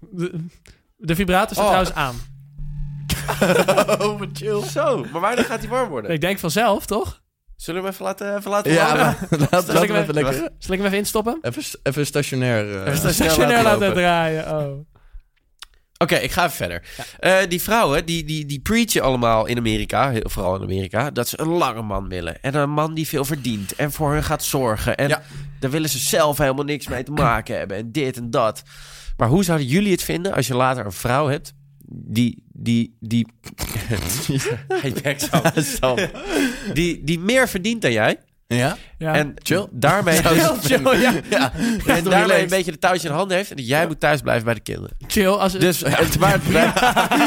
[SPEAKER 3] De, de vibrator staat
[SPEAKER 2] Oh.
[SPEAKER 3] trouwens aan.
[SPEAKER 2] Oh, wat chill. Zo, maar wanneer gaat hij warm worden?
[SPEAKER 3] Ik denk vanzelf, toch?
[SPEAKER 2] Zullen we hem even laten, even laten
[SPEAKER 1] Ja,
[SPEAKER 2] warmen?
[SPEAKER 1] maar laat, laat
[SPEAKER 3] ik
[SPEAKER 1] hem
[SPEAKER 3] hem
[SPEAKER 1] even lekker.
[SPEAKER 3] Zal ik hem even instoppen?
[SPEAKER 1] Even, s- even stationair. eh.
[SPEAKER 2] Even snel
[SPEAKER 3] Stationair
[SPEAKER 2] laten
[SPEAKER 3] laten
[SPEAKER 2] lopen.
[SPEAKER 3] draaien. Oh.
[SPEAKER 2] Oké, ik ga even verder. Eh, die vrouwen, die, die, die preachen allemaal in Amerika, heel- vooral in Amerika, dat ze een lange man willen. En een man die veel verdient en voor hun gaat zorgen. En
[SPEAKER 1] Ja.
[SPEAKER 2] daar willen ze zelf helemaal niks mee te maken hebben. En dit en dat. Maar hoe zouden jullie het vinden als je later een vrouw hebt die... die, die Hij werkt zo. Sam. Die, die meer verdient dan jij.
[SPEAKER 1] Ja?
[SPEAKER 3] Ja.
[SPEAKER 2] En
[SPEAKER 1] Chill.
[SPEAKER 2] daarmee,
[SPEAKER 3] Heel chill, ja.
[SPEAKER 1] Ja.
[SPEAKER 2] en daarmee een
[SPEAKER 1] relaxed.
[SPEAKER 2] beetje de touwtje in handen heeft. En jij moet thuis blijven bij de kinderen.
[SPEAKER 3] Chill. Als,
[SPEAKER 2] Dus het, maar,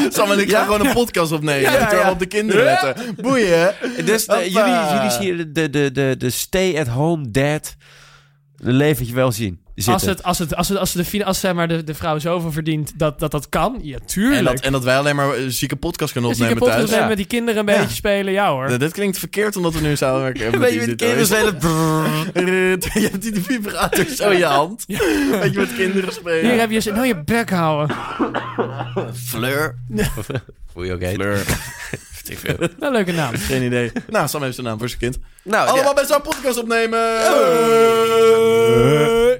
[SPEAKER 1] Sam en ik gaan gewoon een podcast opnemen.
[SPEAKER 2] Ja, ja,
[SPEAKER 1] Terwijl
[SPEAKER 2] ja.
[SPEAKER 1] we op de kinderen letten. Boeien. hè?
[SPEAKER 2] Dus de-
[SPEAKER 1] Hoppa.
[SPEAKER 2] jullie, jullie zien de, de, de, de stay-at-home dad de leventje wel zien. Zitten.
[SPEAKER 3] als, het, als, het, als, het, als, de, fina- als zeg maar de, de vrouw zoveel verdient dat dat, dat kan, ja, tuurlijk.
[SPEAKER 1] En dat, en dat wij alleen maar eh, zieke podcast kunnen
[SPEAKER 3] Dus die
[SPEAKER 1] opnemen
[SPEAKER 3] kapot
[SPEAKER 1] thuis.
[SPEAKER 3] is
[SPEAKER 2] Ja.
[SPEAKER 3] met die kinderen een beetje spelen, ja hoor.
[SPEAKER 1] Ja, dit klinkt verkeerd omdat we nu samenwerken. hebben
[SPEAKER 2] Weet
[SPEAKER 1] met
[SPEAKER 2] je,
[SPEAKER 1] die-
[SPEAKER 2] met kinderen
[SPEAKER 1] dit-
[SPEAKER 2] spelen. brrr.
[SPEAKER 1] Je hebt die vibrator zo in je hand. Dat je met kinderen spelen.
[SPEAKER 3] Hier heb je ze, nou je bek houden.
[SPEAKER 2] Fleur. Hoe je ook heet.
[SPEAKER 1] Fleur.
[SPEAKER 2] Ik veel.
[SPEAKER 3] Nou, leuke naam.
[SPEAKER 1] Geen idee. Nou, Sam heeft zijn naam voor zijn kind.
[SPEAKER 2] Nou, ja.
[SPEAKER 1] Allemaal bij zo'n podcast opnemen.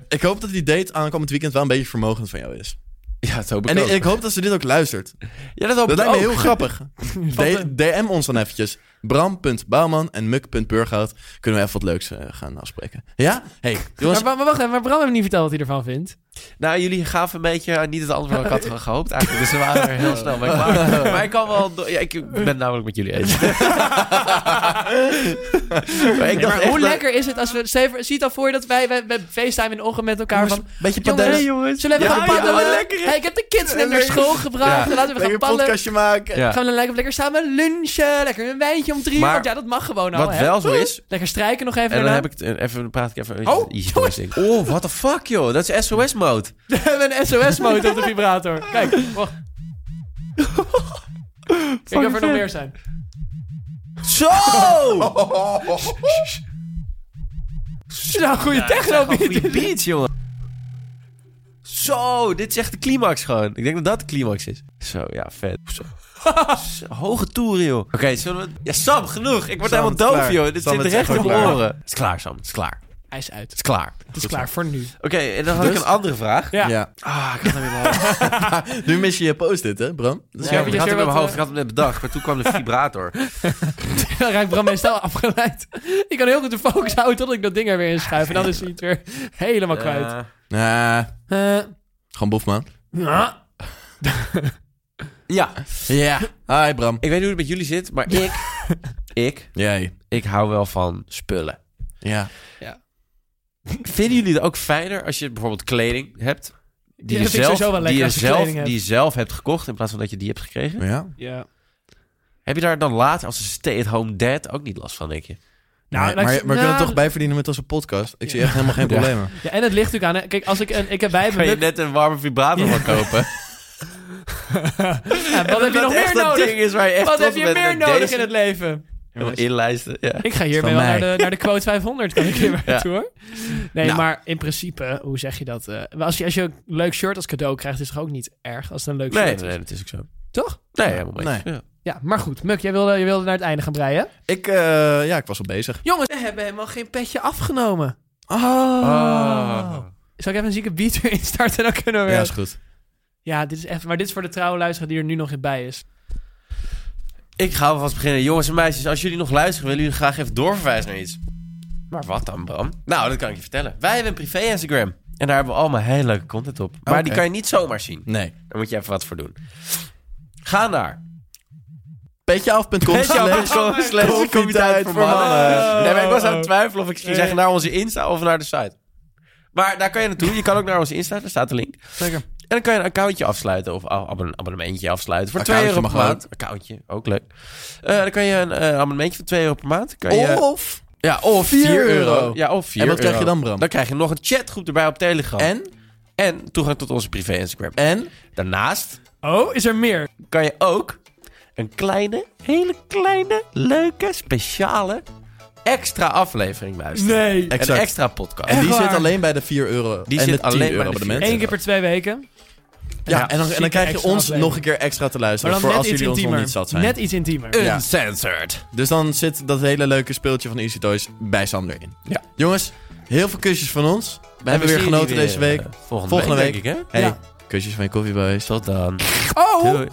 [SPEAKER 1] Ik hoop dat die date aankomend weekend wel een beetje vermogend van jou is.
[SPEAKER 2] ja, dat hoop ik
[SPEAKER 1] En ik,
[SPEAKER 2] ook.
[SPEAKER 1] ik hoop dat ze dit ook luistert.
[SPEAKER 2] ja, dat hoop
[SPEAKER 1] Dat
[SPEAKER 2] ik
[SPEAKER 1] lijkt me
[SPEAKER 2] ook.
[SPEAKER 1] heel grappig. D- DM ons dan eventjes. Bram.bouwman en muk.burghout. Kunnen we even wat leuks eh, gaan afspreken. Ja? hey, jongens.
[SPEAKER 3] Maar, maar wacht even, maar Bram heeft niet verteld wat hij ervan vindt.
[SPEAKER 2] Nou, jullie gaven een beetje eh, niet het antwoord wat ik had gehoopt eigenlijk. Dus ze waren er heel snel mee klaar. Maar ik kan wel... do- Ja, ik ben namelijk met jullie eens. Maar ik dacht
[SPEAKER 3] Maar
[SPEAKER 2] echt
[SPEAKER 3] hoe
[SPEAKER 2] dat-
[SPEAKER 3] lekker is het als we... stel je voor- Zie je dan voor je dat wij, wij, wij FaceTime in de ochtend met elkaar van...
[SPEAKER 1] beetje
[SPEAKER 3] Jongens,
[SPEAKER 1] padellen.
[SPEAKER 3] jongens. Zullen we
[SPEAKER 2] Ja,
[SPEAKER 3] gaan
[SPEAKER 2] ja,
[SPEAKER 3] paddelen?
[SPEAKER 2] wat lekker is.
[SPEAKER 3] Hey, ik heb de kids net naar school gebracht.
[SPEAKER 2] Ja.
[SPEAKER 3] Laten
[SPEAKER 1] Lekker
[SPEAKER 3] we gaan
[SPEAKER 1] een
[SPEAKER 3] paddelen.
[SPEAKER 1] podcastje maken.
[SPEAKER 2] Ja.
[SPEAKER 3] Gaan we dan lekker, lekker samen lunchen. Lekker een wijntje om drie uur.
[SPEAKER 2] Maar
[SPEAKER 3] Want ja, dat mag gewoon al.
[SPEAKER 2] Wat
[SPEAKER 3] nou, hè.
[SPEAKER 2] wel zo is,
[SPEAKER 3] Lekker strijken nog even.
[SPEAKER 2] En dan
[SPEAKER 3] daarna.
[SPEAKER 2] heb ik het eh, even, dan praat ik even.
[SPEAKER 3] Oh,
[SPEAKER 2] Iets anders, denk ik. oh what the fuck, joh. Dat is SOS-mode.
[SPEAKER 3] We hebben een SOS-mode op de vibrator. Kijk, wacht. Kijk of er nog meer zijn.
[SPEAKER 2] Zo!
[SPEAKER 3] Nou, goede techno
[SPEAKER 2] Goeie
[SPEAKER 3] beat.
[SPEAKER 2] beats, jongen. Zo, dit is echt de climax gewoon. Ik denk dat dat de climax is. Zo, ja, vet. Zo. Zo, Hoge toeren, joh. Oké, zullen we... Ja, Sam, genoeg. Ik word
[SPEAKER 1] Sam,
[SPEAKER 2] helemaal doof,
[SPEAKER 1] het is klaar.
[SPEAKER 2] joh. Dit
[SPEAKER 1] Sam,
[SPEAKER 2] zit
[SPEAKER 1] het is
[SPEAKER 2] recht
[SPEAKER 1] echt
[SPEAKER 2] in mijn
[SPEAKER 1] klaar.
[SPEAKER 2] oren. Het is klaar, Sam. Het is klaar. Het
[SPEAKER 3] Hij is uit.
[SPEAKER 2] is klaar.
[SPEAKER 3] Het is klaar voor nu.
[SPEAKER 2] Oké, en dan had ik een andere vraag.
[SPEAKER 3] Ja.
[SPEAKER 1] Ja.
[SPEAKER 2] Ah, ik had hem in mijn hoofd.
[SPEAKER 1] Nu mis je je post-it, hè, Bram? Dat is
[SPEAKER 3] Ja,
[SPEAKER 1] jammer.
[SPEAKER 3] maar
[SPEAKER 2] Ik
[SPEAKER 3] je
[SPEAKER 2] had hem
[SPEAKER 3] zei
[SPEAKER 2] in mijn
[SPEAKER 3] wat,
[SPEAKER 2] hoofd.
[SPEAKER 3] eh,
[SPEAKER 2] Ik had hem net bedacht, maar toen kwam de vibrator.
[SPEAKER 3] Dan raakt Bram meestal afgeleid. Ik kan heel goed de focus houden totdat ik dat ding er weer in schuif. En dan is hij het weer helemaal kwijt.
[SPEAKER 2] Eh,
[SPEAKER 1] Nah,
[SPEAKER 3] Eh,
[SPEAKER 1] gewoon boef, man.
[SPEAKER 3] ja.
[SPEAKER 2] ja,
[SPEAKER 1] Ja. Hi, Bram.
[SPEAKER 2] ik weet niet hoe het met jullie zit, maar ik... ik
[SPEAKER 1] Jij.
[SPEAKER 2] ik hou wel van spullen.
[SPEAKER 1] Ja.
[SPEAKER 2] Vinden jullie het ook fijner als je bijvoorbeeld kleding hebt? Die,
[SPEAKER 3] Ja, dat
[SPEAKER 2] je
[SPEAKER 3] vind ik
[SPEAKER 2] zelf,
[SPEAKER 3] sowieso wel
[SPEAKER 2] die,
[SPEAKER 3] lekker
[SPEAKER 2] je
[SPEAKER 3] als je
[SPEAKER 2] zelf,
[SPEAKER 3] kleding hebt.
[SPEAKER 2] die je zelf hebt gekocht in plaats van dat je die hebt gekregen?
[SPEAKER 1] Ja.
[SPEAKER 3] ja.
[SPEAKER 2] Heb je daar dan later als een stay-at-home dad ook niet last van, denk je?
[SPEAKER 3] Nou,
[SPEAKER 1] Nee, maar,
[SPEAKER 3] laat ik ze-
[SPEAKER 1] maar we kunnen
[SPEAKER 3] nou-
[SPEAKER 1] er toch bijverdienen met onze podcast. Ik zie echt helemaal geen problemen.
[SPEAKER 3] Ja, en het ligt natuurlijk aan. hè. Kijk, als ik een. Ik heb bij
[SPEAKER 2] Kan
[SPEAKER 3] me.
[SPEAKER 2] je net een warme vibrator van kopen?
[SPEAKER 3] wat heb je nog meer
[SPEAKER 2] Dat
[SPEAKER 3] nodig?
[SPEAKER 2] ding is waar je echt
[SPEAKER 3] Wat heb
[SPEAKER 2] trots
[SPEAKER 3] je
[SPEAKER 2] op bent.
[SPEAKER 3] meer
[SPEAKER 2] En
[SPEAKER 3] nodig
[SPEAKER 2] deze-
[SPEAKER 3] in het leven?
[SPEAKER 2] Helemaal Inlijsten, ja.
[SPEAKER 3] Ik ga hiermee
[SPEAKER 1] Van
[SPEAKER 3] wel naar
[SPEAKER 1] mij.
[SPEAKER 3] de, naar de quote 500, kan ik hier maar
[SPEAKER 2] Ja.
[SPEAKER 3] naartoe, hoor. Nee,
[SPEAKER 2] Nou.
[SPEAKER 3] maar in principe, hoe zeg je dat? eh, als, je, als je een leuk shirt als cadeau krijgt, is het toch ook niet erg als het een leuk
[SPEAKER 2] Nee,
[SPEAKER 3] shirt
[SPEAKER 2] nee,
[SPEAKER 3] is?
[SPEAKER 2] nee, dat is ook zo.
[SPEAKER 3] Toch?
[SPEAKER 2] Nee, helemaal
[SPEAKER 1] Nee.
[SPEAKER 2] niet. Ja.
[SPEAKER 3] Ja, maar goed. Muk, jij wilde, je wilde naar het einde gaan breien.
[SPEAKER 1] Ik, eh, ja, ik was al bezig.
[SPEAKER 3] Jongens, we hebben helemaal geen petje afgenomen.
[SPEAKER 1] Oh.
[SPEAKER 3] Ah. Zal ik even een zieke beat erin starten en dan kunnen we weer...
[SPEAKER 1] Ja, is
[SPEAKER 3] Ja,
[SPEAKER 1] goed.
[SPEAKER 3] dit is even... Maar dit is voor de trouwe luisteraar die er nu nog in bij is.
[SPEAKER 2] Ik ga alvast beginnen. Jongens en meisjes, als jullie nog luisteren, willen jullie graag even doorverwijzen naar iets. Maar wat dan, Bram? Nou, dat kan ik je vertellen. Wij hebben een privé-Instagram. En daar hebben we allemaal hele leuke content op. Maar die
[SPEAKER 1] Oké.
[SPEAKER 2] kan je niet zomaar zien.
[SPEAKER 1] Nee.
[SPEAKER 2] Daar moet je even wat voor doen. Ga naar
[SPEAKER 1] Petjeaf.com
[SPEAKER 2] petjeaf.com slash
[SPEAKER 1] koffietijd voor mannen.
[SPEAKER 2] Nee, maar ik was aan het twijfelen of ik ging zeggen naar onze Insta of naar de site. Maar daar kan je naartoe. Je kan ook naar onze Insta, daar staat de link.
[SPEAKER 1] Zeker.
[SPEAKER 2] En dan kan je een accountje afsluiten of ab- abonne- abonnementje afsluiten. Voor 2
[SPEAKER 1] Accountje
[SPEAKER 2] euro per
[SPEAKER 1] mag
[SPEAKER 2] maand. Accountje, ook leuk. Eh, dan kan je een eh, abonnementje van 2 euro per maand. Kan je,
[SPEAKER 1] Of...
[SPEAKER 2] ja, of
[SPEAKER 1] 4
[SPEAKER 2] 4
[SPEAKER 1] Oh, euro.
[SPEAKER 2] Ja, of 4
[SPEAKER 1] En wat krijg je dan, Bram?
[SPEAKER 2] Dan krijg je nog een chatgroep erbij op Telegram.
[SPEAKER 1] En?
[SPEAKER 2] En toegang tot onze privé Instagram.
[SPEAKER 1] En?
[SPEAKER 2] Daarnaast
[SPEAKER 3] Oh, is er meer?
[SPEAKER 2] kan je ook een kleine, hele kleine, leuke, speciale extra aflevering luisteren.
[SPEAKER 3] Nee.
[SPEAKER 2] Een
[SPEAKER 1] Exact.
[SPEAKER 2] extra podcast.
[SPEAKER 1] En die
[SPEAKER 3] Echt waar?
[SPEAKER 1] zit alleen bij de 4 euro.
[SPEAKER 2] Die
[SPEAKER 1] en
[SPEAKER 2] zit
[SPEAKER 1] de 10
[SPEAKER 2] alleen bij
[SPEAKER 1] euro
[SPEAKER 2] de
[SPEAKER 1] abonnement.
[SPEAKER 3] Eén keer per twee weken.
[SPEAKER 1] Ja, en dan, en
[SPEAKER 3] zieke
[SPEAKER 1] dan krijg je
[SPEAKER 3] extra
[SPEAKER 1] ons
[SPEAKER 3] aflevering.
[SPEAKER 1] nog een keer extra te
[SPEAKER 3] Maar
[SPEAKER 1] luisteren.
[SPEAKER 3] dan
[SPEAKER 1] Voor
[SPEAKER 3] net
[SPEAKER 1] als
[SPEAKER 3] iets
[SPEAKER 1] jullie ons nog
[SPEAKER 3] intiemer.
[SPEAKER 1] niet zat zijn. Eh.
[SPEAKER 3] Net iets intiemer.
[SPEAKER 1] Ja.
[SPEAKER 2] Uncensored.
[SPEAKER 1] Dus dan zit dat hele leuke speeltje van Easy Toys bij Sam erin.
[SPEAKER 2] Ja.
[SPEAKER 1] Jongens, heel veel kusjes van ons. We hebben weer genoten deze week.
[SPEAKER 2] Volgende,
[SPEAKER 1] Volgende
[SPEAKER 2] week,
[SPEAKER 1] week.
[SPEAKER 2] denk ik, hè?
[SPEAKER 1] Hey,
[SPEAKER 3] Ja.
[SPEAKER 1] kusjes van je koffieboys.
[SPEAKER 2] Tot dan.
[SPEAKER 3] Oh!
[SPEAKER 2] Doei.